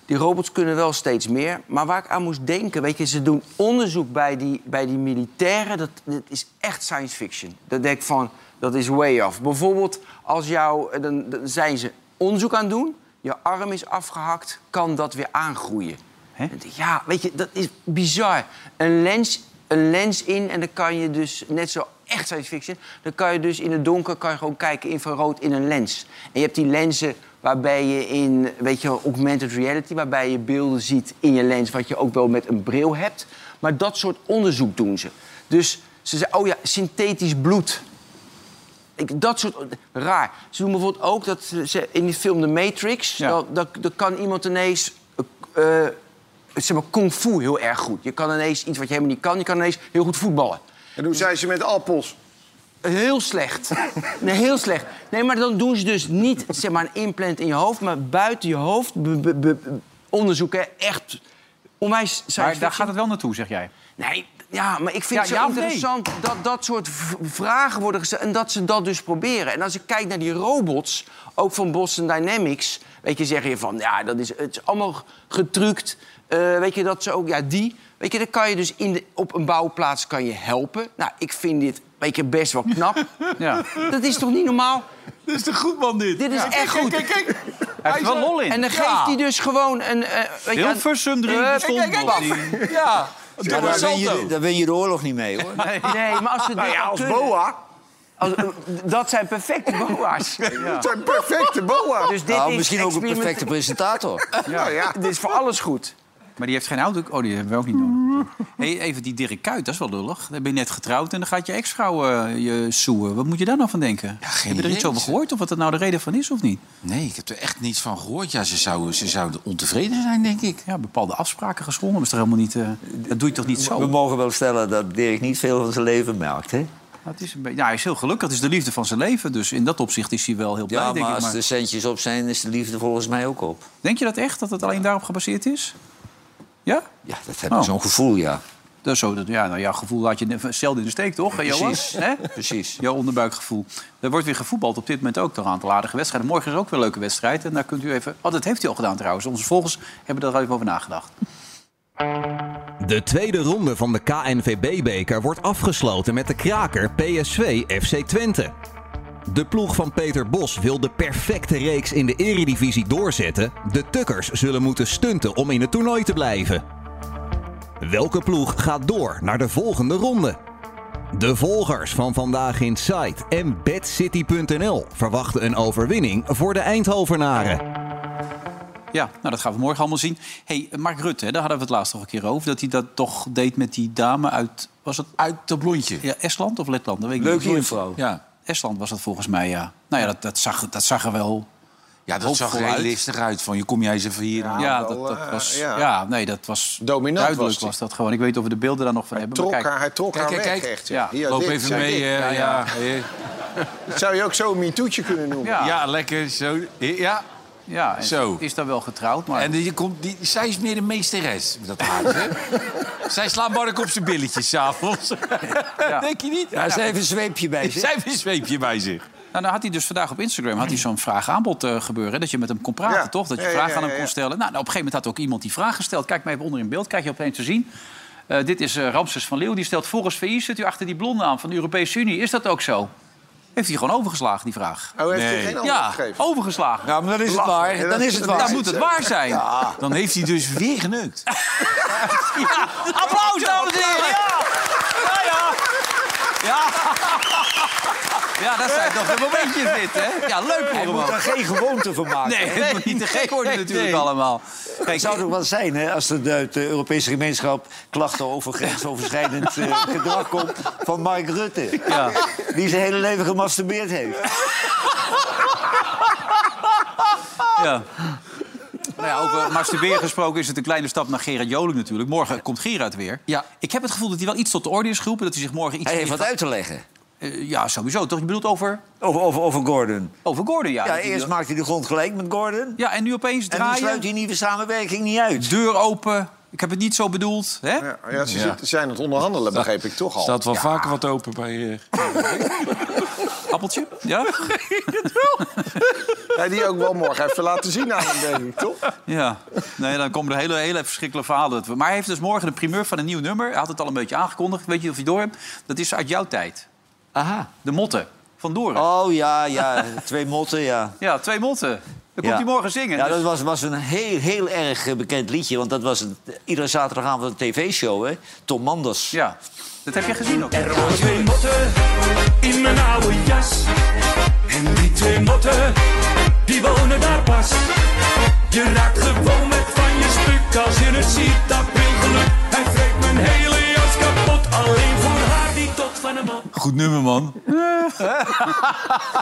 Die robots kunnen wel steeds meer. Maar waar ik aan moest denken, weet je, ze doen onderzoek bij die, bij die militairen. Dat, dat is echt science fiction. Dat denk ik van, dat is way off. Bijvoorbeeld, als jou, eh, dan, dan zijn ze onderzoek aan het doen. Je arm is afgehakt, kan dat weer aangroeien. Dan denk ik, Ja, weet je, dat is bizar. Een lens, een lens in en dan kan je dus, net zo echt science fiction... dan kan je dus in het donker kan je gewoon kijken infrarood in een lens. En je hebt die lenzen waarbij je in, weet je wel, augmented reality... waarbij je beelden ziet in je lens, wat je ook wel met een bril hebt. Maar dat soort onderzoek doen ze. Dus ze zei, oh ja, synthetisch bloed. Ik, dat soort... Raar. Ze doen bijvoorbeeld ook dat ze- ze, in die film The Matrix... Dan, dan, dan kan iemand ineens... eh, eh, zeg maar, kung fu heel erg goed. Je kan ineens iets wat je helemaal niet kan... je kan ineens heel goed voetballen. En hoe zei ze met appels? Heel slecht. Nee, heel slecht. Nee, maar dan doen ze dus niet zeg maar, een implant in je hoofd... maar buiten je hoofd be- be- be- onderzoeken. Echt onwijs Maar daar gaat het wel naartoe, zeg jij. Nee, ja, maar ik vind Ja, het zo ja of nee? interessant dat dat soort v- vragen worden gesteld... en dat ze dat dus proberen. En als ik kijk naar die robots, ook van Boston Dynamics... weet je, zeg je van, ja, dat is, het is allemaal getrukt. Eh, weet je, dat ze ook, ja, die... Weet je, dan kan je dus in de, op een bouwplaats kan je helpen. Nou, ik vind dit, weet je, best wel knap. Ja. Dat is toch niet normaal? Dit is de goed man, dit. Dit is Ja. echt goed. Kijk, kijk, kijk. Hij heeft er wel lol in. En dan Ja. geeft hij dus gewoon een... eh, weet je, Hilversum drie eh, bestond kijk, kijk, nog kijk. niet. Ja, Ja, Nou, daar, win je, daar win je de oorlog niet mee, hoor. Nee, maar als ze Nou dit ja, al als kunnen- boa. Als- eh, dat zijn perfecte boa's. Dat zijn perfecte boa's. Dus dit Nou, is misschien ook een experiment- perfecte presentator. Ja. Dit is voor alles goed. Maar die heeft geen auto. Oh, die hebben we ook niet nodig. Hey, even die Dirk Kuyt, dat is wel lullig. Dan ben je net getrouwd en dan gaat je ex-vrouw eh, je soeën. Wat moet je daar nou van denken? Heb je er idee. iets over gehoord? Of wat er nou de reden van is of niet? Nee, ik heb er echt niets van gehoord. Ja, ze zouden, ze zouden ontevreden zijn, denk ik. Ja, bepaalde afspraken geschonden. Maar is er helemaal niet... eh, dat doe je toch niet zo? We mogen wel stellen dat Dirk niet veel van zijn leven merkt, hè? Nou, het is een beetje- nou, hij is heel gelukkig. Het is de liefde van zijn leven. Dus in dat opzicht is hij wel heel blij, Ja, denk maar ik. als Maar... de centjes op zijn, is de liefde volgens mij ook op. Denk je dat echt? Dat het alleen daarop gebaseerd is? Ja? Ja, dat heb Oh. ik zo'n gevoel, ja. Dat is zo, dat, ja, nou, jouw gevoel laat je ne- zelden in de steek, toch? hè, Johan? Precies. Hè? Precies. Jouw onderbuikgevoel. Er wordt weer gevoetbald op dit moment ook door een aantal aardige wedstrijden. Morgen is ook weer een leuke wedstrijd. En daar kunt u even... Oh, dat heeft u al gedaan trouwens. Onze volgers hebben daar al even over nagedacht. De tweede ronde van de KNVB-beker wordt afgesloten met de kraker PSV FC Twente. De ploeg van Peter Bos wil de perfecte reeks in de eredivisie doorzetten. De Tukkers zullen moeten stunten om in het toernooi te blijven. Welke ploeg gaat door naar de volgende ronde? De volgers van Vandaag in Sight en BadCity.nl verwachten een overwinning voor de Eindhovenaren. Ja, nou, dat gaan we morgen allemaal zien. hey, Mark Rutte, hè, daar hadden we het laatst nog een keer over. Dat hij dat toch deed met die dame uit... Was het... Uit dat blondje. Ja, Estland of Letland? Dat weet ik Leuke niet. info. Ja. Estland was dat volgens mij, ja. Nou ja, dat, dat, zag, dat zag er wel... Ja, dat zag er hoopvol uit. realistisch uit. Van, je kom jij eens even hier. Ja, dat, dat was, ja. nee, dat was Dominant duidelijk was was, hij. dat gewoon. Ik weet niet of we de beelden daar nog van hebben. trok maar kijk. haar- hij trok haar weg, echt, ja. Ja. Hier, Loop dit, even zei mee. dit. eh, Ja, ja, ja. eh. Dat zou je ook zo een mitoetje kunnen noemen. Ja. lekker. Zo. Ja. Ja, en Zo. is daar wel getrouwd, Ah. maar... En die komt, die, zij is meer de meesteres, met dat haar. hè? zij slaat Mark op zijn billetjes s'avonds. Denk je niet? Ja, ze heeft een zweepje bij zich. Zij heeft een zweepje bij zich. Nou, dan had hij dus vandaag op Instagram had hij zo'n vraag-aanbod eh, gebeuren. hè, Dat je met hem kon praten, Ja. toch? Dat je Ja, ja, vragen ja, aan hem ja, kon ja. stellen. Nou, op een gegeven moment had ook iemand die vraag gesteld. Kijk maar even onder in beeld. Krijg je opeens te zien. Eh, dit is eh, Ramses van Leeuw. Die stelt, volgens VI zit u achter die blonde aan van de Europese Unie. Is dat ook zo? Heeft hij gewoon overgeslagen, die vraag. Oh, heeft hij geen antwoord ja, gegeven? overgeslagen. Ja, maar dan is het Lachen. waar. Ja, Dan dat- is het dat waar. is Dan moet het het, waar hè? zijn. Ja. Dan heeft hij dus weer geneukt. Ja, applaus, dames en heren. Ja, ja, ja. Ja, ja dat zijn toch de momentjes dit, hè? Ja, leuk voor Hij hem moet ook. daar geen gewoonte van maken. Nee, het moet niet te gek worden natuurlijk allemaal. het zou toch wel zijn hè, als er uit de Europese gemeenschap klachten over grensoverschrijdend eh, gedrag komt van Mark Rutte. Ja. Die zijn hele leven gemasturbeerd heeft. Ja. Nou ja, over masturberen gesproken is het een kleine stap naar Gerard Joling natuurlijk. Morgen komt Gerard weer. Ja. Ik heb het gevoel dat hij wel iets tot de orde is geroepen. Dat hij zich morgen iets... Hij heeft wat gaat- uit te leggen. Eh, ja, sowieso. Toch? Je bedoelt over... Over, over, over Gordon. Over Gordon, ja. Ja, Dat hij- eerst maakt hij de grond gelijk met Gordon. Ja, en nu opeens En nu draaien. sluit die nieuwe samenwerking niet uit. Deur open. Ik heb het niet zo bedoeld, hè? Ja, ja, ze Ja. zitten- zijn aan het onderhandelen, begreep ik toch al. Staat wel vaker wat open bij eh, je. Appeltje? Ja? Ja, die ook wel morgen even laten zien aan hem, denk ik, toch? Ja, nee, dan komen er hele, hele verschrikkelijke verhalen. Maar hij heeft dus morgen de primeur van een nieuw nummer. Hij had het al een beetje aangekondigd. Weet je of je door hebt? Dat is uit jouw tijd. Aha. De motten van Doren. Oh ja, ja. Twee motten, ja. Ja, twee motten. Dan komt Ja. hij morgen zingen. Ja, Dus- dat was, was een heel, heel erg eh, bekend liedje. Want dat was een, iedere zaterdagavond een tv-show, hè? Tom Manders. Ja, dat heb je gezien ook. Nou Er waren twee motten in mijn oude jas. En die twee motten, die wonen daar pas. Je raakt gewoon met van je stuk als je het ziet, dat wil geluk. Hij vreet mijn hele jas kapot, alleen voor haar. goed nummer, man.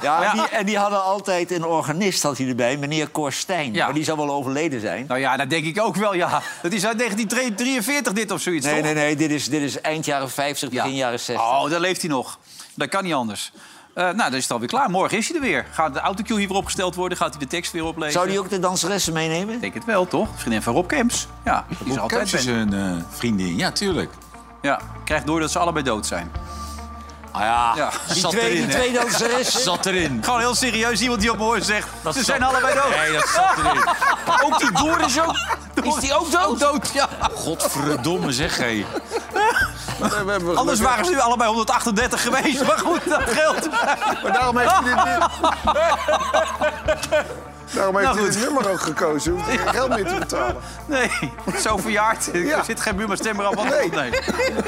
Ja, En, die, en die hadden altijd een organist had hij erbij, meneer Korstijn. Maar die zal wel overleden zijn. Nou ja, dat denk ik ook wel, ja. Dat is uit 1943 dit of zoiets, Nee, toch? nee, nee, dit is, dit is eind jaren 50, begin jaren 60. Oh, daar leeft hij nog. Dat kan niet anders. Eh, nou, dan is het alweer klaar. Morgen is hij er weer. Gaat de autocue hier weer opgesteld worden? Gaat hij de tekst weer oplezen? Zou die ook de danseressen meenemen? Ik denk het wel, toch? Vriendin van Rob Kemps. Ja, die is er altijd Kemps is eh, een vriendin. Ja, tuurlijk. Ja, krijgt door dat ze allebei dood zijn. Ah ja, Die zat twee- erin, die hè? twee danseressen. Zat erin. Gewoon heel serieus, iemand die op me hoort zegt... Dat ze zat- zijn allebei dood. Nee, dat zat erin. ook die Door is ook... Is die ook dood? dood, ja. Godverdomme, zeg hé. Anders waren ze nu allebei 138 geweest. Maar goed, dat geldt. Maar daarom heeft hij dit Daarom heeft Nou, hij goed. dit nummer ook gekozen. Hoeft hij geen geld meer te betalen. Nee, zo verjaard. Er zit geen buurmanstemmer aan. Nee. nee.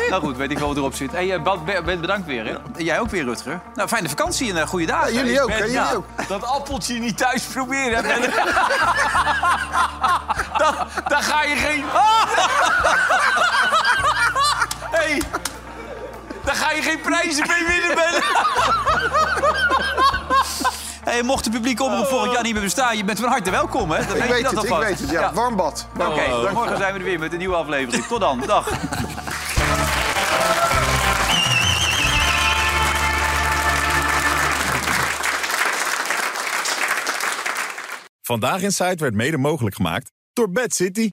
Nou goed, weet ik wel wat erop zit. Hé, hey, eh, Bart, be- Bert, bedankt weer. Hè. En Jij ook weer, Rutger. Nou, fijne vakantie en eh, goede dagen. Ja, jullie ook, Bert, hè, jullie ook. Dat appeltje niet thuis proberen. hè, Bert. Dan, dan ga je geen... Ah! hey, daar ga je geen prijzen mee winnen, Ben. Hey, mocht de publieke oproep volgend jaar niet meer bestaan, je bent van harte welkom, hè? Dan Ik weet, je weet dat het, ik alvast. weet het. Ja, warm bad. Oké, Warm bad. Dank je. morgen zijn we er weer met een nieuwe aflevering. Tot dan, dag. Vandaag in Site werd mede mogelijk gemaakt door Bad City.